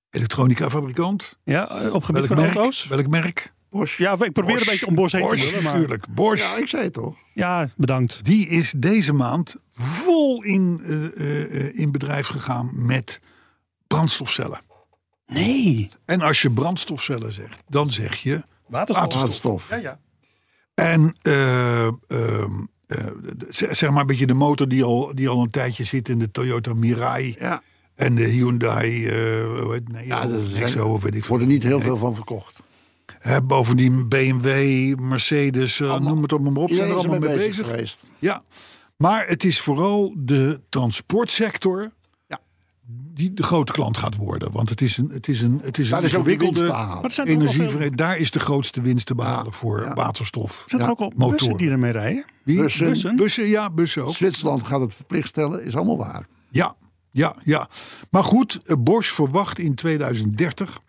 Speaker 2: elektronica fabrikant.
Speaker 4: Ja, eh, op gebied
Speaker 2: Welk
Speaker 4: van
Speaker 2: merk?
Speaker 4: auto's?
Speaker 2: Welk merk?
Speaker 4: Ja, ik probeer
Speaker 2: Bosch.
Speaker 4: een beetje om Bosch heen te
Speaker 2: Bosch,
Speaker 4: willen, maar...
Speaker 2: natuurlijk. Bosch.
Speaker 3: Ja, ik zei het toch.
Speaker 4: Ja, bedankt.
Speaker 2: Die is deze maand vol in, eh, eh, eh, in bedrijf gegaan met brandstofcellen.
Speaker 4: Nee.
Speaker 2: En als je brandstofcellen zegt, dan zeg je.
Speaker 4: Waterstof.
Speaker 3: Waterstof.
Speaker 4: Ja, ja.
Speaker 2: En eh, ehm, eh, d- zeg zeg maar een beetje de motor die al, die al een tijdje zit in de Toyota Mirai.
Speaker 3: Ja.
Speaker 2: En de Hyundai, eh hoe heet, nee,
Speaker 3: Ja,
Speaker 2: oh,
Speaker 3: dat zijn-
Speaker 2: Nexo, of weet ik
Speaker 3: Er
Speaker 2: veel.
Speaker 3: worden niet heel veel van verkocht.
Speaker 2: Hè, bovendien BMW, Mercedes, eh, noem het allemaal maar op. Zijn er allemaal mee bezig.
Speaker 3: geweest.
Speaker 2: Ja, maar het is vooral de transportsector
Speaker 3: Ja.
Speaker 2: die de grote klant gaat worden. Want het is een, het is een, het is een
Speaker 3: Daar is ook de winst te
Speaker 2: ingewikkelde
Speaker 3: halen.
Speaker 4: Maar er zijn toch ook wel veel-
Speaker 2: energie. Daar is de grootste winst te behalen voor waterstof.
Speaker 4: Zijn er ook al
Speaker 2: motoren.
Speaker 4: bussen die ermee rijden?
Speaker 2: Wie?
Speaker 3: bussen?
Speaker 2: Bussen, ja, bussen ook.
Speaker 3: Zwitserland gaat het verplicht stellen, is allemaal waar.
Speaker 2: Ja, ja, ja. Maar goed, eh, Bosch verwacht in 2030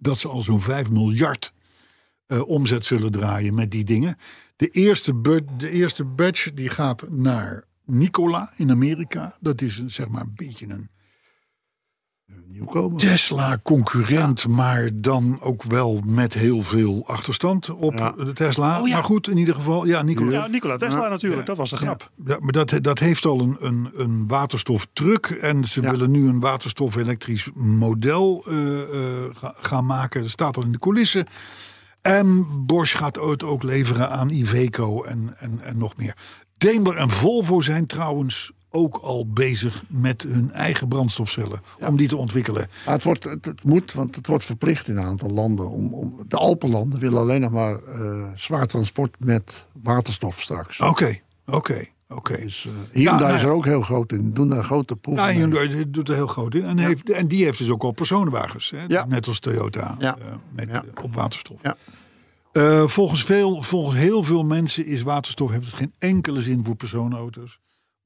Speaker 2: dat ze al zo'n 5 miljard eh, omzet zullen draaien met die dingen. De eerste, bu- de eerste batch die gaat naar Nikola in Amerika. Dat is een, zeg maar een beetje een
Speaker 3: Nieuwkomen.
Speaker 2: Tesla-concurrent, maar dan ook wel met heel veel achterstand op
Speaker 3: Ja.
Speaker 2: de Tesla.
Speaker 4: ja.
Speaker 2: Maar goed, in ieder geval, ja, Nikola.
Speaker 4: Ja, Nikola Tesla natuurlijk. Dat was de grap.
Speaker 2: Ja, maar dat, dat heeft al een, een, een waterstoftruck. En ze
Speaker 3: Ja.
Speaker 2: willen nu een waterstof-elektrisch model eh, eh, ga- gaan maken. Dat staat al in de coulissen. En Bosch gaat het ook leveren aan Iveco en, en, en nog meer. Daimler en Volvo zijn trouwens ook al bezig met hun eigen brandstofcellen. Om die te ontwikkelen.
Speaker 3: Maar het, wordt, het, het moet, want het wordt verplicht in een aantal landen. Om, om, de Alpenlanden willen alleen nog maar eh, zwaar transport met waterstof straks.
Speaker 2: Oké, oké, oké.
Speaker 3: Dus, eh, Hyundai
Speaker 2: nou
Speaker 3: is er ook heel groot in. Doen daar grote proeven
Speaker 2: Ja,
Speaker 3: mee.
Speaker 2: Nou, Hyundai doet er heel groot in. En, heeft, en die heeft dus ook al personenwagens. Hè?
Speaker 3: Ja.
Speaker 2: Net als Toyota
Speaker 3: Ja.
Speaker 2: eh, met,
Speaker 3: Ja.
Speaker 2: op waterstof.
Speaker 3: Ja.
Speaker 2: Eh, volgens, veel, volgens heel veel mensen is waterstof heeft het geen enkele zin voor personenauto's.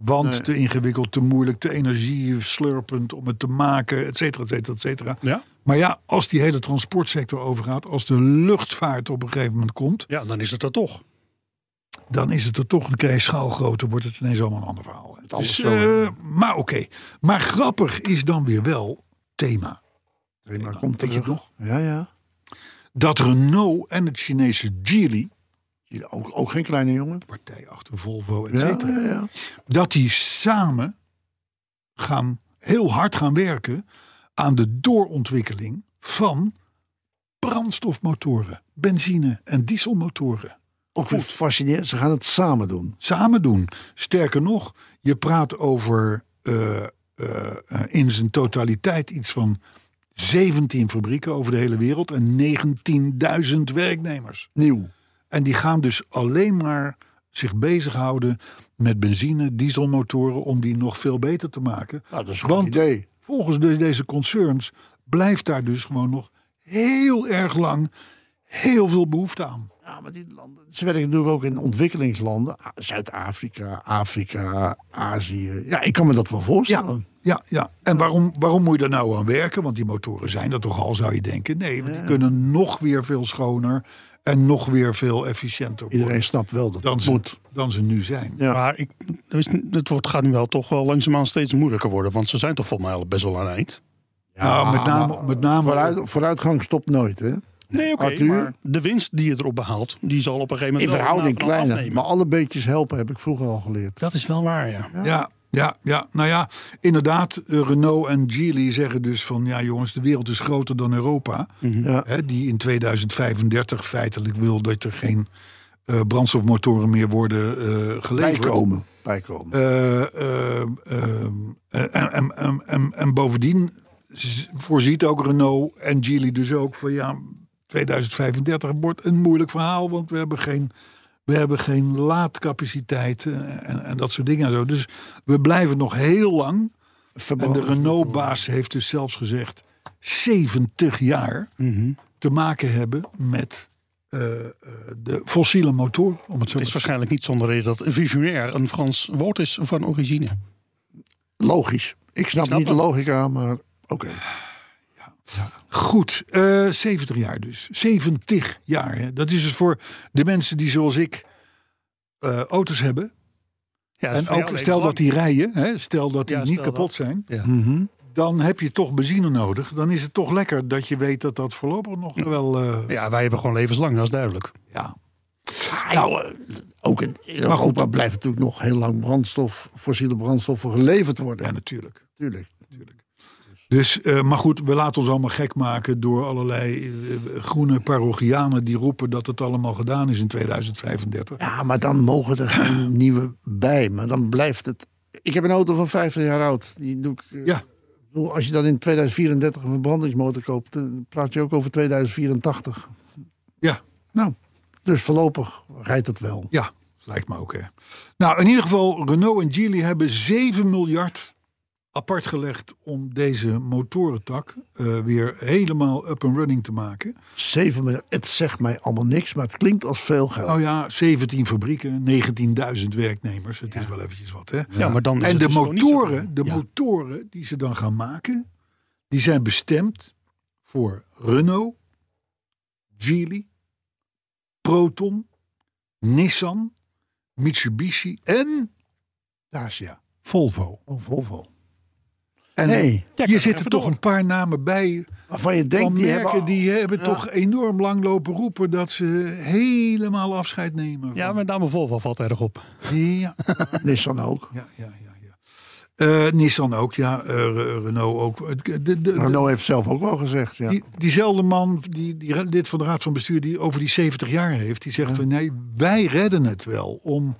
Speaker 2: Want te ingewikkeld, te moeilijk, te energieslurpend om het te maken, et cetera, et cetera, et cetera.
Speaker 4: Ja.
Speaker 2: Maar ja, als die hele transportsector overgaat, als de luchtvaart op een gegeven moment komt,
Speaker 4: Ja, dan is het dat toch.
Speaker 2: dan is het er toch een keer schaalgroter, wordt het ineens allemaal een ander verhaal.
Speaker 3: alles
Speaker 2: Dus,
Speaker 3: wel, hè?
Speaker 2: eh, maar oké. Maar grappig is dan weer wel thema.
Speaker 3: Prima, komt
Speaker 2: Weet je het
Speaker 3: terug.
Speaker 2: nog?
Speaker 3: Ja, ja.
Speaker 2: Dat Renault en het Chinese Geely,
Speaker 3: Jullie Ook, ook geen kleine jongen.
Speaker 2: partij achter Volvo, et
Speaker 3: Ja,
Speaker 2: cetera,
Speaker 3: ja, ja.
Speaker 2: dat die samen gaan, heel hard gaan werken aan de doorontwikkeling van brandstofmotoren, benzine- en dieselmotoren.
Speaker 3: Ook weer fascinerend. Ze gaan het samen doen.
Speaker 2: samen doen. Sterker nog, je praat over eh, eh, eh, in zijn totaliteit iets van 17 fabrieken over de hele wereld en 19.000 werknemers.
Speaker 3: Nieuw.
Speaker 2: En die gaan dus alleen maar zich bezighouden met benzine, dieselmotoren om die nog veel beter te maken.
Speaker 3: Nou, dat is een
Speaker 2: Want
Speaker 3: goed idee.
Speaker 2: Volgens de- deze concerns blijft daar dus gewoon nog heel erg lang heel veel behoefte aan.
Speaker 3: Ja, maar die landen, ze werken natuurlijk ook in ontwikkelingslanden. A- Zuid-Afrika, Afrika, Azië. Ja, ik kan me dat wel voorstellen.
Speaker 2: Ja, ja. En waarom, waarom moet je daar nou aan werken? Want die motoren zijn er toch al, zou je denken. Nee, want die kunnen nog weer veel schoner en nog weer veel efficiënter worden
Speaker 3: Iedereen snapt wel dat
Speaker 2: dan
Speaker 3: het
Speaker 2: ze,
Speaker 3: moet.
Speaker 2: dan ze nu zijn.
Speaker 3: Ja.
Speaker 4: Maar ik, er is- het wordt, gaat nu wel toch wel langzaamaan steeds moeilijker worden. Want ze zijn toch volgens mij al best wel aan het eind.
Speaker 2: Nou, met name, met name
Speaker 3: Vooruit, vooruitgang stopt nooit, hè?
Speaker 4: Nee, oké.
Speaker 3: Arthur?
Speaker 4: maar de winst die je erop behaalt, die zal op een gegeven
Speaker 3: In
Speaker 4: moment... wel
Speaker 3: verhouding
Speaker 4: na- vanaf
Speaker 3: kleiner.
Speaker 4: afnemen.
Speaker 3: Maar alle beetjes helpen, heb ik vroeger al geleerd.
Speaker 4: Dat is wel waar, ja.
Speaker 2: Ja, ja, ja. Nou ja, inderdaad, eh, Renault en Geely zeggen dus van... ja jongens, de wereld is groter dan Europa.
Speaker 3: Mhm. Ja.
Speaker 2: Hè, die in 2035 feitelijk wil dat er geen eh, brandstofmotoren meer worden eh geleverd.
Speaker 3: Bijkomen. Bijkomen.
Speaker 2: Eh, eh, eh, en, en, en, en, en bovendien z- voorziet ook Renault en Geely dus ook van... ja, 2035 wordt een moeilijk verhaal, want we hebben geen... We hebben geen laadcapaciteit eh, en, en dat soort dingen. En zo. Dus we blijven nog heel lang en de Renault-baas heeft dus zelfs gezegd 70 jaar te maken hebben met eh, eh, de fossiele motor. Om het zo
Speaker 4: Het is
Speaker 2: maar te zeggen.
Speaker 4: waarschijnlijk niet zonder reden dat visionair een Frans woord is van origine.
Speaker 3: Logisch. Ik snap,
Speaker 4: Eh, snap
Speaker 3: niet
Speaker 4: het.
Speaker 3: de logica, maar oké.
Speaker 2: Goed, eh, 70 jaar dus. 70 jaar. Hè. Dat is dus voor de mensen die zoals ik eh, auto's hebben.
Speaker 4: Ja,
Speaker 2: en ook stel dat die rijden, hè, stel dat die
Speaker 4: Ja,
Speaker 2: niet
Speaker 4: stel
Speaker 2: kapot
Speaker 4: dat.
Speaker 2: zijn.
Speaker 4: Ja.
Speaker 3: Mhm.
Speaker 2: Dan heb je toch benzine nodig. Dan is het toch lekker dat je weet dat dat voorlopig nog wel... eh,
Speaker 4: Ja, wij hebben gewoon levenslang, dat is duidelijk.
Speaker 2: ja.
Speaker 3: Nou, eh, ook in, in Europa blijft natuurlijk nog heel lang brandstof, fossiele brandstoffen geleverd worden.
Speaker 2: ja, natuurlijk.
Speaker 3: natuurlijk.
Speaker 2: Dus, eh, maar goed, we laten ons allemaal gek maken door allerlei eh, groene parochianen die roepen dat het allemaal gedaan is in 2035.
Speaker 3: Ja, maar dan mogen er geen nieuwe bij. Maar dan blijft het. Ik heb een auto van 50 jaar oud. Die doe ik. eh,
Speaker 2: Ja.
Speaker 3: ik bedoel, Als je dan in 2034 een verbrandingsmotor koopt, dan praat je ook over 2084.
Speaker 2: Ja,
Speaker 3: Nou, dus voorlopig rijdt het wel.
Speaker 2: ja, lijkt me ook. Hè. Nou, in ieder geval, Renault en Geely hebben 7 miljard apart gelegd om deze motorentak eh, weer helemaal up and running te maken.
Speaker 3: 7 miljard, het zegt mij allemaal niks, maar het klinkt als veel geld.
Speaker 2: Nou ja, 17 fabrieken, 19.000 werknemers. Het is wel eventjes wat, hè?
Speaker 4: Ja, maar dan is
Speaker 2: En
Speaker 4: het
Speaker 2: de
Speaker 4: dus gewoon niet zo
Speaker 2: motoren,
Speaker 4: goed.
Speaker 2: de
Speaker 4: Ja.
Speaker 2: motoren die ze dan gaan maken, die zijn bestemd voor Renault, Geely, Proton, Nissan, Mitsubishi en
Speaker 3: Dacia.
Speaker 2: Volvo.
Speaker 3: Oh, Volvo.
Speaker 2: En
Speaker 3: Nee.
Speaker 4: kan
Speaker 2: hier zitten
Speaker 4: even
Speaker 2: toch
Speaker 4: door.
Speaker 2: een paar namen bij
Speaker 3: Waarvan je denkt,
Speaker 2: van
Speaker 3: die
Speaker 2: merken
Speaker 3: hebben...
Speaker 2: die hebben
Speaker 3: Ja.
Speaker 2: toch enorm lang lopen roepen dat ze helemaal afscheid nemen. Van.
Speaker 4: Ja, met name Volvo valt erg op.
Speaker 2: ja.
Speaker 3: Nissan ook.
Speaker 2: ja, ja, ja. ja. Eh, Nissan ook, ja. eh, Re- Renault ook. Het- de- de- de-
Speaker 3: Renault heeft zelf ook wel gezegd, ja.
Speaker 2: Die, diezelfde man, die, die lid van de Raad van Bestuur, die over die 70 jaar heeft, die zegt van nee, wij redden het wel om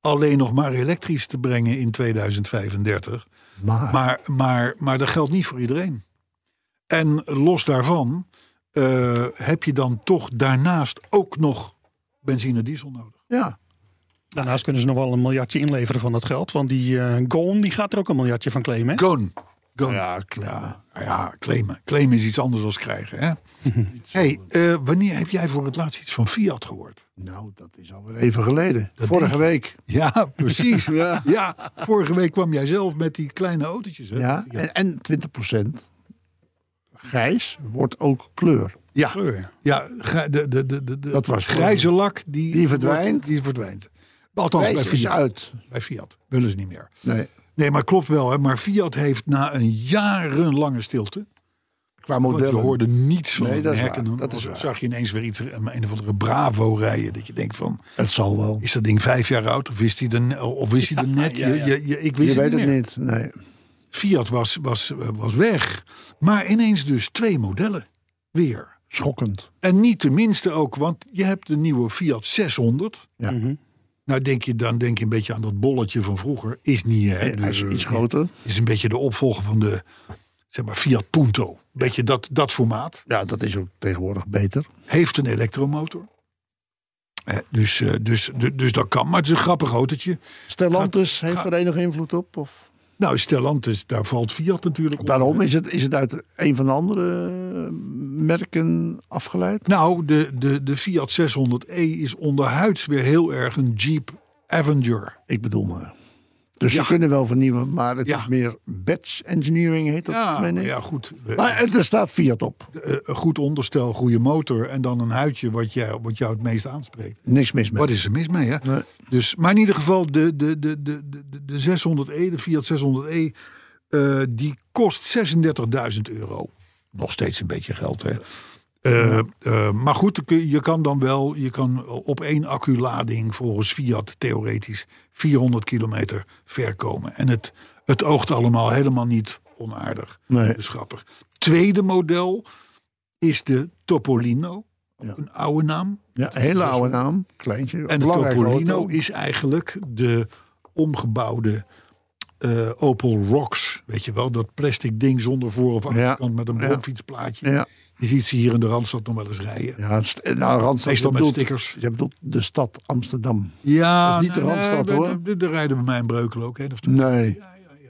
Speaker 2: alleen nog maar elektrisch te brengen in 2035.
Speaker 3: maar,
Speaker 2: Maar, maar, maar dat geldt niet voor iedereen. En los daarvan eh, heb je dan toch daarnaast ook nog benzine en diesel nodig.
Speaker 3: ja.
Speaker 4: Daarnaast kunnen ze nog wel een miljardje inleveren van dat geld. Want die eh Goon die gaat er ook een miljardje van claimen. Hè?
Speaker 2: Goon. Goon.
Speaker 3: Ja, claimen.
Speaker 2: Ja, ja, claimen. Claimen is iets anders dan krijgen. Hè? hey, eh, wanneer heb jij voor het laatst iets van Fiat gehoord?
Speaker 3: Nou, dat is alweer even geleden.
Speaker 2: Dat
Speaker 3: Vorige
Speaker 2: denk ik.
Speaker 3: week.
Speaker 2: Ja, precies.
Speaker 3: Ja.
Speaker 2: Ja, vorige week kwam jij zelf met die kleine autootjes. Hè?
Speaker 3: Ja, en, en 20% grijs wordt ook kleur.
Speaker 2: ja,
Speaker 4: Kleur.
Speaker 2: ja grij- de, de, de, de, de
Speaker 3: Dat was
Speaker 2: grijze lak die,
Speaker 3: Die verdwijnt.
Speaker 2: wordt- die verdwijnt. Althans, bij
Speaker 3: Grijs is
Speaker 2: Fiat.
Speaker 3: uit.
Speaker 2: bij Fiat willen ze niet meer.
Speaker 3: Nee,
Speaker 2: Nee, maar klopt wel. Hè? Maar Fiat heeft na een jarenlange stilte.
Speaker 3: qua
Speaker 2: Want je
Speaker 3: modellen.
Speaker 2: hoorde niets van
Speaker 3: Nee,
Speaker 2: het
Speaker 3: dat is
Speaker 2: merk.
Speaker 3: waar.
Speaker 2: En dan
Speaker 3: Dat is waar.
Speaker 2: zag je ineens weer iets, een, een of andere Bravo rijden. Dat je denkt van,
Speaker 3: Het zal wel.
Speaker 2: is dat ding vijf jaar oud? Of is die er, of is die er net?
Speaker 4: ja, ja.
Speaker 2: Je, je, je- ik
Speaker 3: Je
Speaker 2: wist
Speaker 3: weet
Speaker 2: het
Speaker 3: het
Speaker 2: niet. meer.
Speaker 3: niet. Nee.
Speaker 2: Fiat was, was, eh, was weg. Maar ineens dus twee modellen weer.
Speaker 3: Schokkend.
Speaker 2: En niet de minste ook, want je hebt de nieuwe Fiat 600.
Speaker 3: Ja.
Speaker 2: Nou, denk je, dan denk je een beetje aan dat bolletje van vroeger. Is niet, hè?
Speaker 3: En hij is
Speaker 2: Dus,
Speaker 3: iets
Speaker 2: eh,
Speaker 3: groter.
Speaker 2: Is een beetje de opvolger van de, zeg maar, Fiat Punto. Beetje dat, dat formaat.
Speaker 3: Ja, dat is ook tegenwoordig beter.
Speaker 2: Heeft een elektromotor. Eh, dus, eh, dus, dus, dus dat kan, maar het is een grappig autootje.
Speaker 3: Stellantis heeft
Speaker 2: ga-
Speaker 3: er enige invloed op? Of?
Speaker 2: Nou, Stellantis, daar valt Fiat natuurlijk op.
Speaker 3: Daarom is het, is het uit een van de andere eh, merken afgeleid.
Speaker 2: Nou, de, de, de Fiat 600e is onderhuids weer heel erg een Jeep Avenger.
Speaker 3: Ik bedoel maar. Dus ze kunnen wel vernieuwen, maar het
Speaker 2: Ja.
Speaker 3: is meer batch engineering heet dat.
Speaker 2: Ja,
Speaker 3: meen ik.
Speaker 2: ja goed.
Speaker 3: Maar het- er staat Fiat op.
Speaker 2: Eh, een goed onderstel, goede motor en dan een huidje wat jou, wat jou het meest aanspreekt.
Speaker 3: Niks mis mee.
Speaker 2: Wat is er mis mee, hè?
Speaker 3: Nee.
Speaker 2: Dus, maar in ieder geval, de, de, de, de, de, de- de 600e, de Fiat 600e, eh, die kost 36.000 euro. Nog steeds een beetje geld, hè? Eh, eh, maar goed, dan kun je- je kan dan wel, je kan op één acculading volgens Fiat theoretisch 400 kilometer ver komen. En het, het oogt allemaal helemaal niet onaardig.
Speaker 3: Nee.
Speaker 2: Dus grappig. Tweede model is de Topolino. Ook
Speaker 3: Ja.
Speaker 2: een oude naam.
Speaker 3: Ja, hele oude naam. Kleintje.
Speaker 2: En de
Speaker 3: belangrijke
Speaker 2: Topolino
Speaker 3: auto.
Speaker 2: is eigenlijk de omgebouwde eh, Opel Rocks. Weet je wel, dat plastic ding zonder voor- of achterkant met een
Speaker 3: Ja.
Speaker 2: bromfietsplaatje.
Speaker 3: Ja,
Speaker 2: Je ziet ze hier in de Randstad nog wel eens rijden.
Speaker 3: ja st- nou, Randstad.
Speaker 2: Meestal
Speaker 3: je
Speaker 2: met
Speaker 3: bedoelt-
Speaker 2: stickers.
Speaker 3: Je bedoelt de stad Amsterdam.
Speaker 2: Ja,
Speaker 3: Dat is niet de Randstad,
Speaker 2: nee,
Speaker 3: hoor.
Speaker 2: nee, nee, Er rijden bij mij in Breukelen ook heen of terug.
Speaker 3: Nee.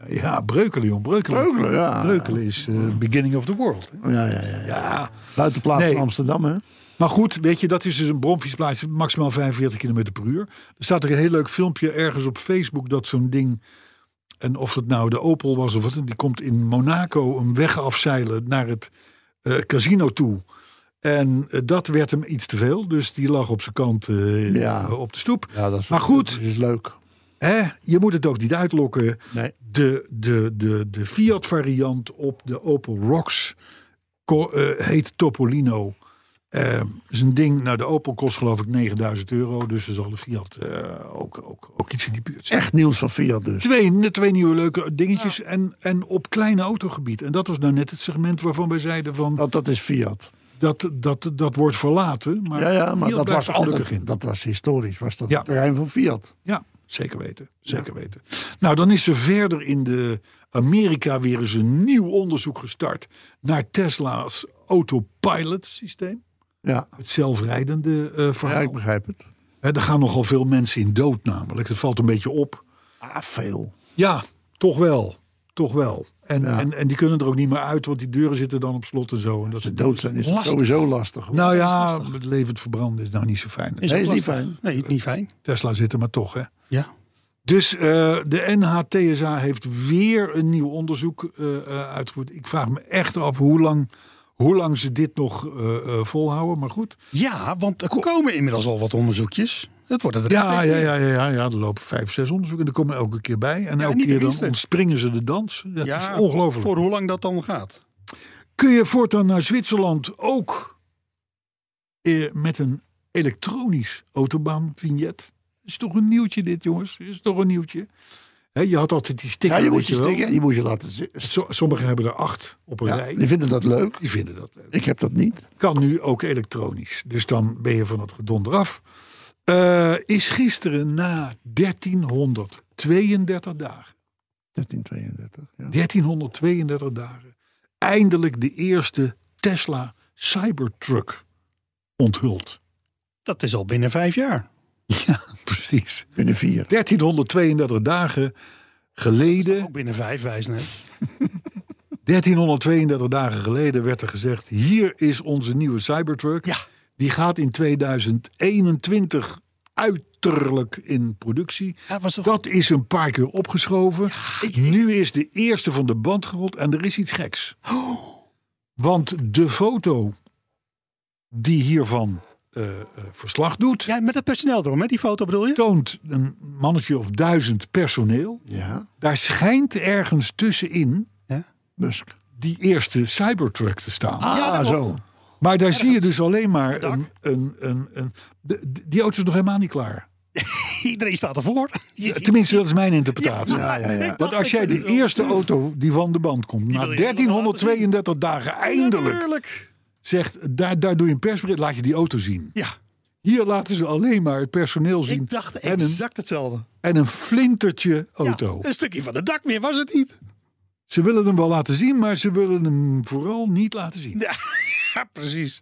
Speaker 2: Ja, Breukelen, jong. Breukelen.
Speaker 3: Breukelen, ja.
Speaker 2: Breukelen is eh, beginning of the world. hè.
Speaker 3: Ja, ja, ja.
Speaker 2: Ja.
Speaker 3: Buitenplaats
Speaker 2: Nee.
Speaker 3: van Amsterdam, hè?
Speaker 2: Maar goed, weet je, dat is dus een bromfietsplaatje, maximaal 45 km per uur. Er staat er een heel leuk filmpje ergens op Facebook dat zo'n ding. En of het nou de Opel was of wat, die komt in Monaco een weg afzeilen naar het eh, casino toe. En eh, dat werd hem iets te veel, dus die lag op zijn kant eh,
Speaker 3: Ja.
Speaker 2: op de stoep.
Speaker 3: Ja, dat is,
Speaker 2: Maar goed.
Speaker 3: Dat is leuk.
Speaker 2: Hè? Je moet het ook niet uitlokken.
Speaker 3: Nee.
Speaker 2: De, de, de, de Fiat variant op de Opel Rocks ko- eh, heet Topolino. Ehm is een ding, nou de Opel kost geloof ik 9000 euro. Dus er zal de Fiat eh, ook, ook, ook iets in die buurt zijn.
Speaker 3: Echt nieuws van Fiat dus.
Speaker 2: Twee, twee nieuwe leuke dingetjes en, en op klein autogebied. En dat was nou net het segment waarvan wij zeiden van
Speaker 3: Want dat is Fiat.
Speaker 2: dat, dat, dat wordt verlaten. Maar,
Speaker 3: Ja, ja, maar
Speaker 2: Fiat
Speaker 3: dat
Speaker 2: blijft
Speaker 3: was
Speaker 2: er gelukkig
Speaker 3: altijd, dat was historisch. Was dat
Speaker 2: Ja.
Speaker 3: het terrein van Fiat.
Speaker 2: Ja, zeker weten. Zeker weten. Nou, dan is er verder in de Amerika weer eens een nieuw onderzoek gestart naar Tesla's autopilot systeem.
Speaker 3: Ja,
Speaker 2: Het zelfrijdende eh
Speaker 3: ja
Speaker 2: verhaal.
Speaker 3: ik begrijp het.
Speaker 2: Hè, daar gaan nogal veel mensen in dood namelijk. Het valt een beetje op.
Speaker 3: Ah, veel.
Speaker 2: Ja, toch wel. Toch wel. En,
Speaker 3: Ja.
Speaker 2: en, en die kunnen er ook niet meer uit, want die deuren zitten dan op slot en zo. En dat
Speaker 3: Ze dood zijn is het sowieso lastig. hoor.
Speaker 2: Nou ja, het levend verbranden is nou niet zo fijn.
Speaker 4: Is
Speaker 3: Nee,
Speaker 4: ook
Speaker 3: is niet
Speaker 4: lastig.
Speaker 3: fijn.
Speaker 4: Nee, is niet fijn.
Speaker 2: Tesla zit er maar toch, hè?
Speaker 4: Ja.
Speaker 2: Dus eh, de NHTSA heeft weer een nieuw onderzoek eh, eh, uitgevoerd. Ik vraag me echt af hoe lang, hoe lang ze dit nog eh, eh, volhouden. Maar goed.
Speaker 4: Ja, want er komen inmiddels al wat onderzoekjes. Dat wordt het
Speaker 2: Ja, ja, ja, ja, ja, ja, er lopen vijf, zes onderzoeken. En er komen elke keer bij. En elke
Speaker 4: niet de
Speaker 2: keer dan
Speaker 4: minste.
Speaker 2: ontspringen ze de dans. Dat is ongelooflijk.
Speaker 4: Voor hoe lang dat dan gaat.
Speaker 2: Kun je voortaan naar Zwitserland ook eh, met een elektronisch autobaanvignet? Is toch een nieuwtje dit, jongens? Is toch een nieuwtje? Hè, je had altijd die
Speaker 3: Ja,
Speaker 2: sticker.
Speaker 3: je
Speaker 2: weet
Speaker 3: moet je,
Speaker 2: wel.
Speaker 3: stikken, die moet je laten zitten.
Speaker 2: So- Sommigen hebben er acht op een
Speaker 3: Ja,
Speaker 2: rij.
Speaker 3: die vinden dat leuk.
Speaker 2: Die vinden dat leuk.
Speaker 3: Ik heb dat niet.
Speaker 2: Kan nu ook elektronisch. Dus dan ben je van dat gedonder af. Eh, is gisteren na 1332 dagen.
Speaker 3: 1332. Ja.
Speaker 2: 1332 dagen. Eindelijk de eerste Tesla Cybertruck onthuld.
Speaker 4: Dat is al binnen vijf jaar.
Speaker 2: Ja, precies.
Speaker 3: Binnen vier.
Speaker 2: 1332 dagen geleden
Speaker 4: Ook binnen vijf, wijs net.
Speaker 2: 1332 dagen geleden werd er gezegd: hier is onze nieuwe Cybertruck.
Speaker 4: Ja.
Speaker 2: Die gaat in 2021 uiterlijk in productie.
Speaker 4: Ja, was toch-
Speaker 2: Dat is een paar keer opgeschoven. Nu is de eerste van de band gerold en er is iets geks.
Speaker 4: Oh.
Speaker 2: Want de foto die hiervan eh, eh, verslag doet,
Speaker 4: Ja, met het personeel erom, hè? die foto bedoel je?
Speaker 2: toont een mannetje of duizend personeel.
Speaker 3: Ja.
Speaker 2: Daar schijnt ergens tussenin
Speaker 3: Musk.
Speaker 2: die eerste Cybertruck te staan.
Speaker 3: Ah, zo.
Speaker 2: Maar daar zie je dus alleen maar een. een, een, een de- de- die auto is nog helemaal niet klaar.
Speaker 4: Iedereen staat ervoor. Je ziet-
Speaker 2: Tenminste, dat is mijn interpretatie.
Speaker 3: Ja, ja, ja.
Speaker 2: Want als jij de eerste auto die van de band komt, na
Speaker 4: wil je helemaal
Speaker 2: 1332 dagen eindelijk,
Speaker 4: Natuurlijk.
Speaker 2: zegt daar, daar doe je een persbericht, laat je die auto zien.
Speaker 4: Ja.
Speaker 2: Hier laten ze alleen maar het personeel zien en, een,
Speaker 4: hetzelfde.
Speaker 2: en een flintertje auto.
Speaker 4: Ja, een stukje van het dak meer was het niet.
Speaker 2: Ze willen hem wel laten zien, maar ze willen hem vooral niet laten zien.
Speaker 4: Ja, precies.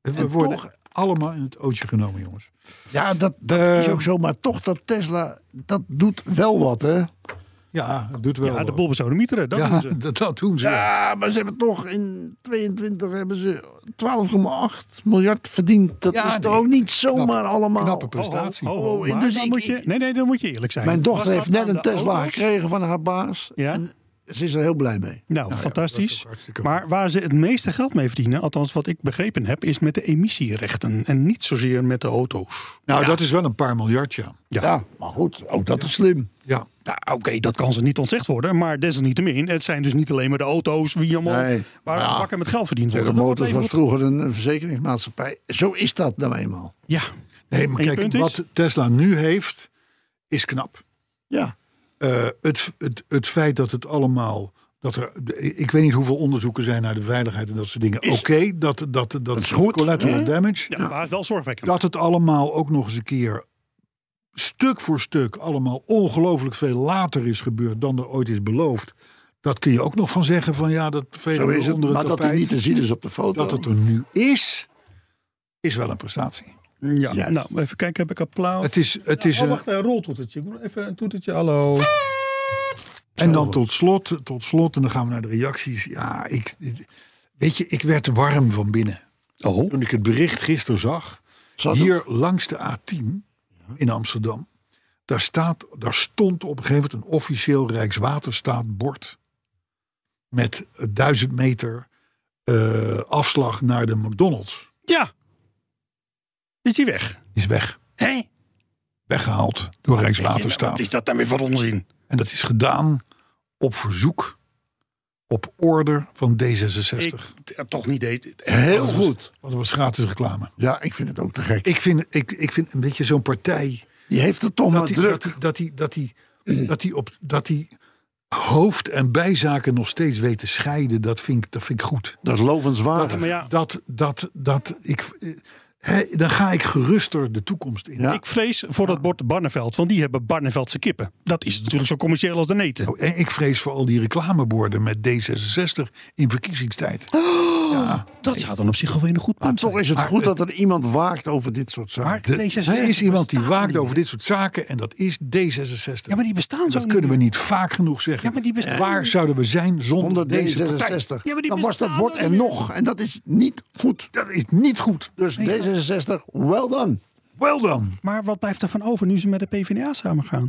Speaker 2: We worden allemaal in het ootje genomen, jongens.
Speaker 3: Ja, dat, dat
Speaker 2: Eh,
Speaker 3: is ook zo. Maar toch dat Tesla, dat doet wel wat, hè?
Speaker 2: Ja, dat doet wel.
Speaker 4: Ja, de
Speaker 2: wat.
Speaker 4: bolbezodemieteren, dat
Speaker 2: Ja,
Speaker 4: doen ze.
Speaker 2: dat, dat doen ze. Ja.
Speaker 3: Ja, maar ze hebben toch in 22 hebben ze 12,8 miljard verdiend. Dat
Speaker 2: Ja,
Speaker 3: is
Speaker 2: nee.
Speaker 3: toch ook niet zomaar allemaal.
Speaker 2: Knappe prestatie.
Speaker 4: Oh,
Speaker 3: Oh,
Speaker 4: maar
Speaker 3: dus
Speaker 4: dan
Speaker 3: ik-
Speaker 4: moet je, nee, nee, dan moet je eerlijk zijn.
Speaker 3: Mijn dochter
Speaker 4: Was
Speaker 3: heeft
Speaker 4: dat
Speaker 3: net
Speaker 4: aan
Speaker 3: een
Speaker 4: de
Speaker 3: Tesla
Speaker 4: auto's?
Speaker 3: gekregen van haar baas.
Speaker 4: Ja.
Speaker 3: En ze is er heel blij mee.
Speaker 4: Nou, fantastisch.
Speaker 2: hartstikke
Speaker 4: Maar waar ze het meeste geld mee verdienen, althans wat ik begrepen heb, is met de emissierechten. En niet zozeer met de auto's.
Speaker 2: Nou, dat is wel een paar miljard, ja.
Speaker 4: Ja.
Speaker 3: Ja, maar goed, ook dat is slim.
Speaker 2: Ja,
Speaker 4: Nou, Oké, dat kan ze niet ontzegd worden, maar desalniettemin, het zijn dus niet alleen maar de auto's wie allemaal
Speaker 3: Nee.
Speaker 4: waar
Speaker 3: Ja.
Speaker 4: bakken met geld verdiend
Speaker 3: General
Speaker 4: worden.
Speaker 3: Motors
Speaker 4: Dat
Speaker 3: was
Speaker 4: levert-
Speaker 3: vroeger een, een verzekeringsmaatschappij. Zo is dat nou eenmaal.
Speaker 4: Ja,
Speaker 2: Nee, maar
Speaker 4: En je
Speaker 2: kijk,
Speaker 4: punt is?
Speaker 2: wat Tesla nu heeft, is knap.
Speaker 3: Ja.
Speaker 2: Eh, het, het, het feit dat het allemaal. Dat er, ik weet niet hoeveel onderzoeken zijn naar de veiligheid en dat soort dingen. Oké, dat, dat, dat,
Speaker 3: is goed,
Speaker 2: collateral damage.
Speaker 4: ja, maar het is wel zorgwekkend.
Speaker 2: Dat het allemaal ook nog eens een keer stuk voor stuk allemaal ongelooflijk veel later is gebeurd dan er ooit is beloofd. Dat kun je ook nog van zeggen van ja, dat velen
Speaker 3: Zo is het.
Speaker 2: onder
Speaker 3: Maar
Speaker 2: het
Speaker 3: dat hij
Speaker 2: tapijt.
Speaker 3: niet te zien is op de foto.
Speaker 2: dat het er nu is, is wel een prestatie.
Speaker 4: Ja,
Speaker 3: Juist.
Speaker 4: nou, even kijken, heb ik applaus?
Speaker 2: Het is, het is,
Speaker 4: oh,
Speaker 2: eh,
Speaker 4: wacht, een roltoetertje. Ik moet Even een toetertje, hallo.
Speaker 2: En dan tot slot, tot slot, en dan gaan we naar de reacties. Ja, ik, weet je, ik werd warm van binnen.
Speaker 4: Oh,
Speaker 2: Toen ik het bericht gisteren zag,
Speaker 3: Zat er-
Speaker 2: hier langs de A10 in Amsterdam, daar, staat, daar stond op een gegeven moment een officieel Rijkswaterstaatbord. Met eh, 1000 meter eh, afslag naar de McDonald's.
Speaker 4: ja. Is die weg?
Speaker 2: Is weg.
Speaker 4: Hé?
Speaker 2: Weggehaald door Rijkswaterstaat.
Speaker 4: Wat is dat dan weer voor onzin?
Speaker 2: En dat is gedaan op verzoek, op order van D66.
Speaker 4: Ik, eh, toch niet Oh, deed.
Speaker 3: Heel
Speaker 2: Want het was-
Speaker 3: goed.
Speaker 2: Want het was gratis reclame.
Speaker 3: Ja, ik vind het ook te gek.
Speaker 2: Ik vind, ik, ik vind een beetje zo'n partij.
Speaker 3: Die heeft het toch maar
Speaker 2: Dat
Speaker 4: Nou,
Speaker 2: die,
Speaker 3: druk.
Speaker 2: dat, die, dat, die, dat, die, dat, die op, dat die hoofd- en bijzaken nog steeds weet te scheiden. Dat vind ik, dat vind ik goed.
Speaker 3: Dat is lovenswaardig.
Speaker 4: Maar ja,
Speaker 2: Dat, dat, dat ik. eh, hè, dan ga ik geruster de toekomst in.
Speaker 3: Ja.
Speaker 4: ik vrees voor dat bord Barneveld, want die hebben Barneveldse kippen. Dat is natuurlijk zo commercieel als de neten.
Speaker 2: Nou, En ik vrees voor al die reclameborden met D66 in verkiezingstijd. Ja,
Speaker 4: dat zou dan op zich alweer een goed
Speaker 3: Maar
Speaker 4: punt zijn.
Speaker 3: toch is het
Speaker 2: Maar,
Speaker 3: goed
Speaker 2: eh,
Speaker 3: dat er iemand waakt over dit soort zaken.
Speaker 2: de-
Speaker 4: D66
Speaker 2: er is iemand die
Speaker 4: bestaat niet
Speaker 2: waakt
Speaker 4: meer.
Speaker 2: over dit soort zaken en dat is D66.
Speaker 4: Ja, maar die bestaan zo
Speaker 2: dat kunnen we
Speaker 4: niet.
Speaker 2: niet vaak genoeg zeggen.
Speaker 4: Ja, maar die bestaan
Speaker 2: Waar
Speaker 4: niet.
Speaker 2: zouden we zijn zonder deze partij?
Speaker 3: 166.
Speaker 4: Ja, maar die
Speaker 3: dan was dat
Speaker 4: bestaan
Speaker 3: bord
Speaker 4: er
Speaker 3: er
Speaker 4: niet.
Speaker 3: nog. En dat is niet goed.
Speaker 2: Dat is niet goed.
Speaker 3: Dus D66, wel dan.
Speaker 2: Wel dan.
Speaker 4: Maar wat blijft er van over nu ze met de PvdA samen gaan?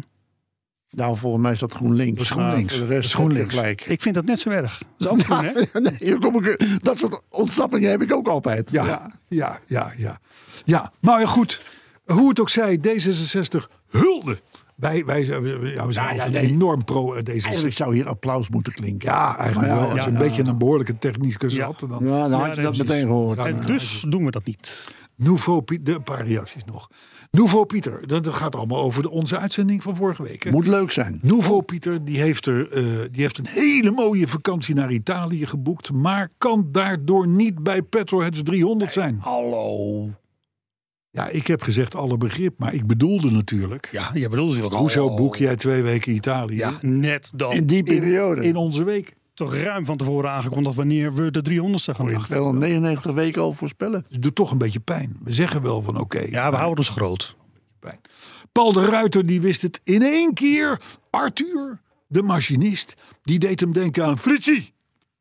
Speaker 3: Nou, volgens mij is dat GroenLinks.
Speaker 2: Dat is GroenLinks.
Speaker 3: Maar voor
Speaker 2: Dat is GroenLinks.
Speaker 3: heb je gelijk.
Speaker 4: Ik vind dat net zo erg. Dat is ook groen, hè?
Speaker 3: nee, hier kom ik, dat soort ontsnappingen heb ik ook altijd.
Speaker 2: Ja, ja, ja, ja. Ja, maar ja, goed. Hoe het ook zij, D66 hulde. Wij, wij zijn, ja, we zijn altijd enorm pro eh, D66.
Speaker 3: Eigenlijk zou hier applaus moeten klinken.
Speaker 2: Ja, eigenlijk wel. Als je een beetje een behoorlijke technicus
Speaker 4: Ja.
Speaker 2: had. Dan,
Speaker 3: Ja, dan
Speaker 4: Ja,
Speaker 3: had je
Speaker 4: nee,
Speaker 3: dat
Speaker 4: precies.
Speaker 3: meteen gehoord.
Speaker 4: En dus doen we dat niet.
Speaker 2: Nouveau Piet- de, een paar reacties nog. Nouveau Pieter, dat, dat gaat allemaal over de, onze uitzending van vorige week. hè?
Speaker 3: Moet leuk zijn.
Speaker 2: Nouveau Pieter, die heeft, er, eh, die heeft een hele mooie vakantie naar Italië geboekt. Maar kan daardoor niet bij Petroheads 300 zijn.
Speaker 3: Hallo.
Speaker 2: Ja, ik heb gezegd alle begrip, maar ik bedoelde natuurlijk.
Speaker 4: Ja, je bedoelt natuurlijk al.
Speaker 2: Hoezo boek jij twee weken Italië?
Speaker 4: Ja, net dan.
Speaker 3: In die periode.
Speaker 2: In onze week.
Speaker 4: toch ruim van tevoren aangekondigd wanneer we de 300ste gaan doen.
Speaker 3: 299 weken al voorspellen.
Speaker 2: Dus het doet toch een beetje pijn. We zeggen wel van oké.
Speaker 4: Ja, we houden ons groot.
Speaker 2: pijn. Paul de Ruiter die wist het in één keer. Arthur, de machinist, die deed hem denken aan Fritsie.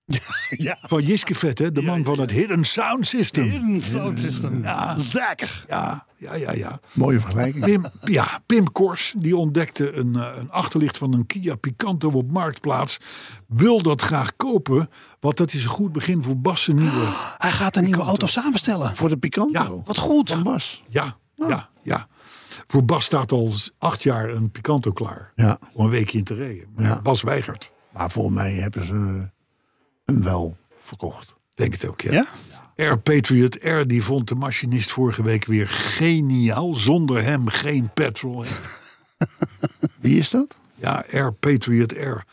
Speaker 4: Ja.
Speaker 2: Van Jiske Vet, hè, de man van het Hidden Sound System. Ah.
Speaker 4: Ja. Zeker.
Speaker 2: Ja, ja, ja, ja.
Speaker 3: Mooie vergelijking.
Speaker 2: Pim, ja, Pim Kors, die ontdekte een, eh, een achterlicht van een Kia Picanto op Marktplaats. Wil dat graag kopen, want dat is een goed begin voor Bassen nieuwe.
Speaker 4: Hij gaat een nieuwe auto samenstellen.
Speaker 3: Voor de Picanto.
Speaker 2: Ja,
Speaker 3: wat goed. Van Bas.
Speaker 2: Ja,
Speaker 3: Oh.
Speaker 2: ja, ja. Voor Bas staat al s- acht jaar een Picanto klaar.
Speaker 3: Ja.
Speaker 2: Om een weekje in te rijden. Maar
Speaker 3: Ja.
Speaker 2: Bas weigert.
Speaker 3: Maar voor mij hebben ze hem wel verkocht.
Speaker 2: Denk het ook, ja.
Speaker 4: Ja?
Speaker 2: Air Patriot Air, die vond de machinist vorige week weer geniaal. Zonder hem geen petrol.
Speaker 3: Wie is dat?
Speaker 2: Ja, Air Patriot Air.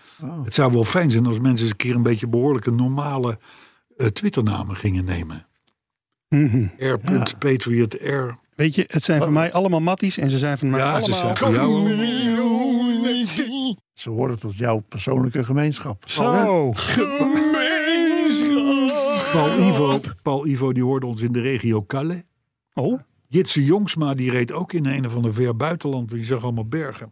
Speaker 2: Het zou wel fijn zijn als mensen eens een keer een beetje behoorlijke normale eh, Twitternamen gingen nemen. Air Patriot Air.
Speaker 4: Weet je, het zijn voor mij allemaal matties en ze zijn van mij
Speaker 2: Ja, ze
Speaker 4: allemaal...
Speaker 2: zijn voor jou. hoor.
Speaker 3: Ze horen tot jouw persoonlijke gemeenschap.
Speaker 4: Zo.
Speaker 2: Paul Ivo, Paul Ivo die hoorde ons in de regio Calais.
Speaker 4: Oh,
Speaker 2: Jitse Jongsma die reed ook in een of ander ver buitenland. Die zag allemaal bergen.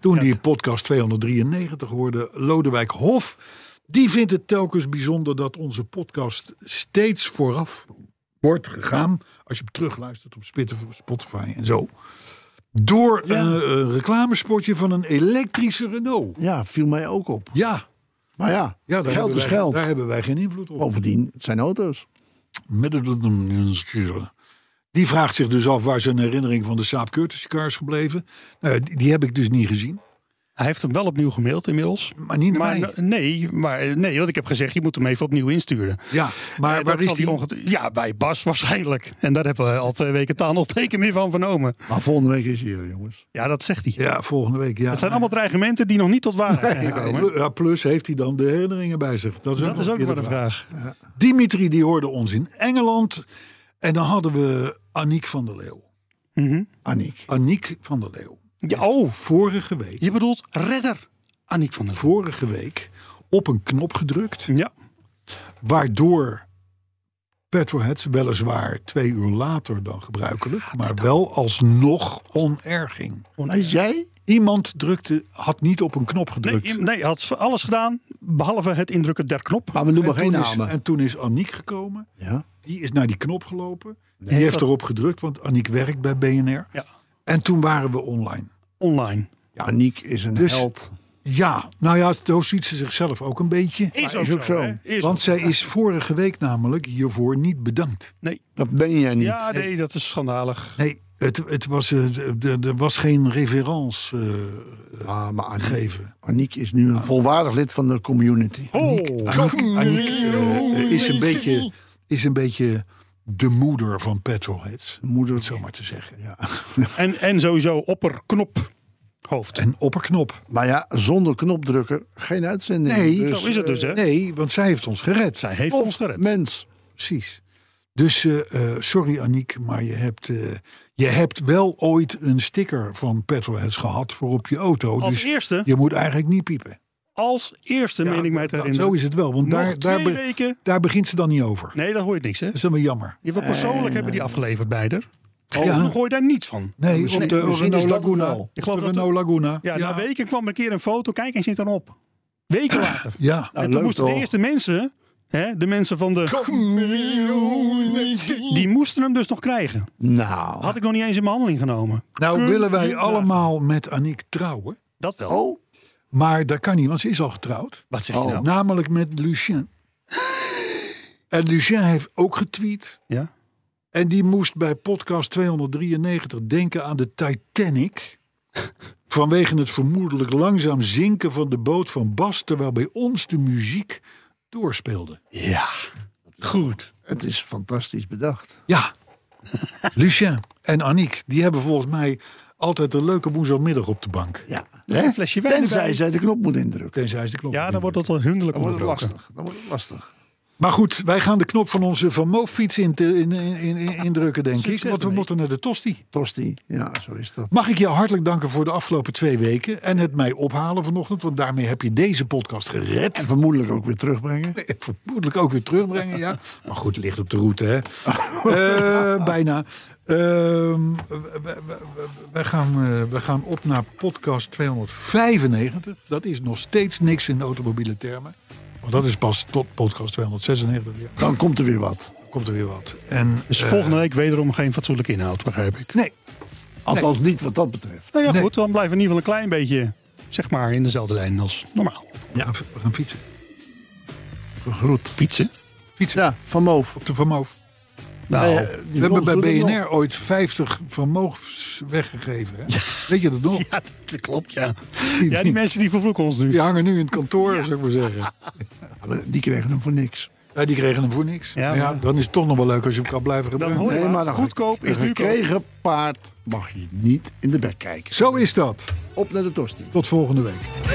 Speaker 2: Toen die podcast 293 hoorde, Lodewijk Hof. Die vindt het telkens bijzonder dat onze podcast steeds vooraf wordt gegaan. Als je hem terugluistert op Spotify en zo. Door een, eh, een reclamespotje van een elektrische Renault.
Speaker 3: Ja, viel mij ook op.
Speaker 2: Ja,
Speaker 3: Maar ja,
Speaker 2: ja daar,
Speaker 3: geld
Speaker 2: hebben
Speaker 3: is
Speaker 2: wij,
Speaker 3: geld.
Speaker 2: daar hebben wij geen invloed op.
Speaker 3: Bovendien, het zijn auto's.
Speaker 2: Middeldenschure. Die vraagt zich dus af waar zijn herinnering van de Saab Curtis car is gebleven. Nou, ja, die, die heb ik dus niet gezien.
Speaker 4: Hij heeft hem wel opnieuw gemaild inmiddels.
Speaker 2: Maar niet naar
Speaker 4: Maar
Speaker 2: mij.
Speaker 4: n- nee, maar nee, want ik heb gezegd, je moet hem even opnieuw insturen.
Speaker 2: Ja, maar
Speaker 4: Eh, dat
Speaker 2: waar is
Speaker 4: zal
Speaker 2: die?
Speaker 4: ongetwijfeld- Ja, bij Bas waarschijnlijk. En daar hebben we al twee weken taal nog teken meer van vernomen.
Speaker 3: Maar volgende week is hij er, jongens.
Speaker 4: Ja, dat zegt hij.
Speaker 2: Ja, volgende week. Ja.
Speaker 4: Het zijn allemaal dreigementen die nog niet tot waarheid zijn
Speaker 2: Ja,
Speaker 4: gekomen.
Speaker 2: plu- ja, plus heeft hij dan de herinneringen bij zich. Dat is
Speaker 4: Dat is ook
Speaker 2: nog
Speaker 4: maar de vraag.
Speaker 2: Dimitri die hoorde ons in Engeland. En dan hadden we Aniek van der Leeuw.
Speaker 3: Aniek.
Speaker 2: Aniek van der Leeuw.
Speaker 4: Ja, oh,
Speaker 2: Vorige week,
Speaker 4: je bedoelt redder Aniek van der Voort.
Speaker 2: vorige week op een knop gedrukt.
Speaker 4: Ja,
Speaker 2: Waardoor Petroheads weliswaar twee uur later dan gebruikelijk, maar wel alsnog onerg ging.
Speaker 3: Weet jij?
Speaker 2: Iemand drukte, had niet op een knop
Speaker 4: nee,
Speaker 2: gedrukt.
Speaker 4: nee, hij had alles gedaan behalve het indrukken der knop.
Speaker 3: Maar we noemen
Speaker 2: en,
Speaker 3: geen
Speaker 2: toen is,
Speaker 3: namen.
Speaker 2: en toen is Aniek gekomen.
Speaker 3: Ja.
Speaker 2: Die is naar die knop gelopen. Die
Speaker 4: Heeft
Speaker 2: heeft
Speaker 4: dat-
Speaker 2: erop gedrukt, want Aniek werkt bij BNR.
Speaker 4: Ja,
Speaker 2: En toen waren we online.
Speaker 4: online.
Speaker 3: Aniek is een
Speaker 2: Dus-
Speaker 3: held.
Speaker 2: Ja, nou ja, zo ziet ze zichzelf ook een beetje.
Speaker 4: Is,
Speaker 3: ook zo, hè?
Speaker 4: Is
Speaker 2: Want
Speaker 4: ook-
Speaker 2: zij is vorige week namelijk hiervoor niet bedankt.
Speaker 4: nee.
Speaker 3: Dat ben jij niet.
Speaker 4: Ja, nee, dat is schandalig.
Speaker 2: Nee, het, het was, eh, d- d- er was geen reverence eh,
Speaker 3: Ah, maar Aniek,
Speaker 2: gegeven.
Speaker 3: Aniek is nu een volwaardig lid van de community.
Speaker 4: Oh,
Speaker 2: Aniek, Aniek, eh, is, een beetje, is een beetje de moeder van Petrolheads. Moeder, het zo maar te zeggen.
Speaker 4: en, en sowieso opperknop hoofd.
Speaker 2: En opperknop.
Speaker 3: Maar ja, zonder knopdrukker geen uitzending.
Speaker 2: Nee,
Speaker 3: Dus,
Speaker 4: Zo is het dus, hè?
Speaker 2: eh, Nee, want zij heeft ons gered.
Speaker 4: Zij heeft
Speaker 3: of
Speaker 4: ons gered.
Speaker 3: Mens.
Speaker 2: Precies. Dus eh, eh, sorry Aniek, maar je hebt, eh, je hebt wel ooit een sticker van Petrolheads gehad voor op je auto.
Speaker 4: Als
Speaker 2: dus
Speaker 4: eerste,
Speaker 2: je moet eigenlijk niet piepen.
Speaker 4: als eerste, meen ik mij te
Speaker 2: dat-
Speaker 4: herinneren.
Speaker 2: nou, Zo is het wel, want
Speaker 4: Nog
Speaker 2: daar, daar,
Speaker 4: twee
Speaker 2: be-
Speaker 4: weken.
Speaker 2: daar begint ze dan niet over.
Speaker 4: Nee, daar hoor je niks, hè?
Speaker 2: Dat is helemaal jammer.
Speaker 4: Je wordt persoonlijk hebben die afgeleverd beider. Gewoon,
Speaker 2: Dus- Eh, Ja.
Speaker 4: dan hoor je daar niets van. Dus
Speaker 2: Nee,
Speaker 3: misschien-
Speaker 2: op de
Speaker 3: misschien is
Speaker 2: Renault
Speaker 3: dat het
Speaker 2: Laguna.
Speaker 3: wel. Ik
Speaker 2: Op
Speaker 4: geloof
Speaker 2: de
Speaker 4: dat-
Speaker 2: Renault Laguna.
Speaker 4: Ja, nou na weken kwam er een keer een foto, kijk en zit dan op. Weken later.
Speaker 2: Ah. Ja.
Speaker 4: en toen
Speaker 3: leuk
Speaker 4: moesten de
Speaker 3: toch?
Speaker 4: eerste mensen, hè, de mensen van de... Die moesten hem dus nog krijgen.
Speaker 3: Nou.
Speaker 4: Had ik nog niet eens in behandeling genomen.
Speaker 2: Nou willen wij
Speaker 4: Ja.
Speaker 2: allemaal met Aniek trouwen.
Speaker 4: Dat wel.
Speaker 3: Oh,
Speaker 2: Maar dat kan niet, want ze is al getrouwd. Oh.
Speaker 4: Wat zeg je nou?
Speaker 2: Namelijk met Lucien. En Lucien heeft ook getweet.
Speaker 4: Ja?
Speaker 2: En die moest bij podcast 293 denken aan de Titanic. Vanwege het vermoedelijk langzaam zinken van de boot van Bas. Terwijl bij ons de muziek doorspeelde.
Speaker 4: Ja. Goed.
Speaker 3: het is fantastisch bedacht.
Speaker 2: Ja, Lucien en Aniek. Die hebben volgens mij altijd een leuke woensdagmiddag op de bank.
Speaker 3: Ja.
Speaker 4: Een flesje wijn
Speaker 3: Tenzij
Speaker 4: erbij.
Speaker 3: zij de knop moet indrukken.
Speaker 2: Tenzij ze de klok
Speaker 4: Ja, dan
Speaker 2: niet
Speaker 4: wordt het wel hinderlijk
Speaker 3: Dan wordt het
Speaker 4: onderbroken.
Speaker 3: lastig. Dan wordt het lastig.
Speaker 2: Maar goed, wij gaan de knop van onze Van Moof-fiets in te- in- in- in- in- indrukken, denk
Speaker 4: Succes
Speaker 2: ik. Want we
Speaker 4: ermee.
Speaker 2: moeten naar de tosti.
Speaker 3: Tosti. Ja, zo is dat.
Speaker 2: Mag ik jou hartelijk danken voor de afgelopen twee weken. En het mij ophalen vanochtend. Want daarmee heb je deze podcast gered.
Speaker 3: En vermoedelijk ook weer terugbrengen.
Speaker 2: En vermoedelijk ook weer terugbrengen, ja. Maar goed, ligt op de route, hè. Eh, bijna. Ehm, we- we- we- wij, gaan, eh, wij gaan op naar podcast 295. Dat is nog steeds niks in de automobiele termen. Want dat is pas tot podcast 296 weer.
Speaker 3: Dan komt er weer wat.
Speaker 2: Komt er weer wat. En,
Speaker 4: Dus
Speaker 2: eh,
Speaker 4: volgende week wederom geen fatsoenlijke inhoud, begrijp ik.
Speaker 2: nee,
Speaker 3: Althans niet wat dat betreft.
Speaker 4: Nou ja,
Speaker 2: Nee.
Speaker 4: goed, dan blijven we in ieder geval een klein beetje, zeg maar, in dezelfde lijn als normaal.
Speaker 2: ja. we gaan fietsen.
Speaker 3: Gegroet.
Speaker 4: Fietsen.
Speaker 2: Fietsen
Speaker 3: Ja, Van Moof.
Speaker 2: op de Vermoof.
Speaker 4: Nou,
Speaker 3: Eh, die
Speaker 2: We hebben
Speaker 3: Vloers
Speaker 2: bij
Speaker 3: doen het nog.
Speaker 2: BNR ooit 50 vermogens weggegeven. Hè? Weet je dat nog?
Speaker 4: ja, dat klopt, ja. Ja, die mensen die vervloeken ons nu.
Speaker 2: Die hangen nu in het kantoor, zou ik maar zeggen.
Speaker 3: Ja, maar Die kregen hem voor niks.
Speaker 2: Ja, die kregen hem voor niks.
Speaker 4: Ja,
Speaker 2: Maar ja,
Speaker 4: maar-
Speaker 2: dan is het toch nog wel leuk als je hem kan blijven
Speaker 4: Dan
Speaker 2: gebruiken.
Speaker 4: hoor je
Speaker 3: Nee, maar
Speaker 4: maar,
Speaker 3: dan
Speaker 4: goedkoop is
Speaker 3: Een
Speaker 4: duurkoop.
Speaker 3: gekregen paard mag je niet in de bek kijken.
Speaker 2: Zo is dat.
Speaker 3: Op naar de tosti.
Speaker 2: Tot volgende week.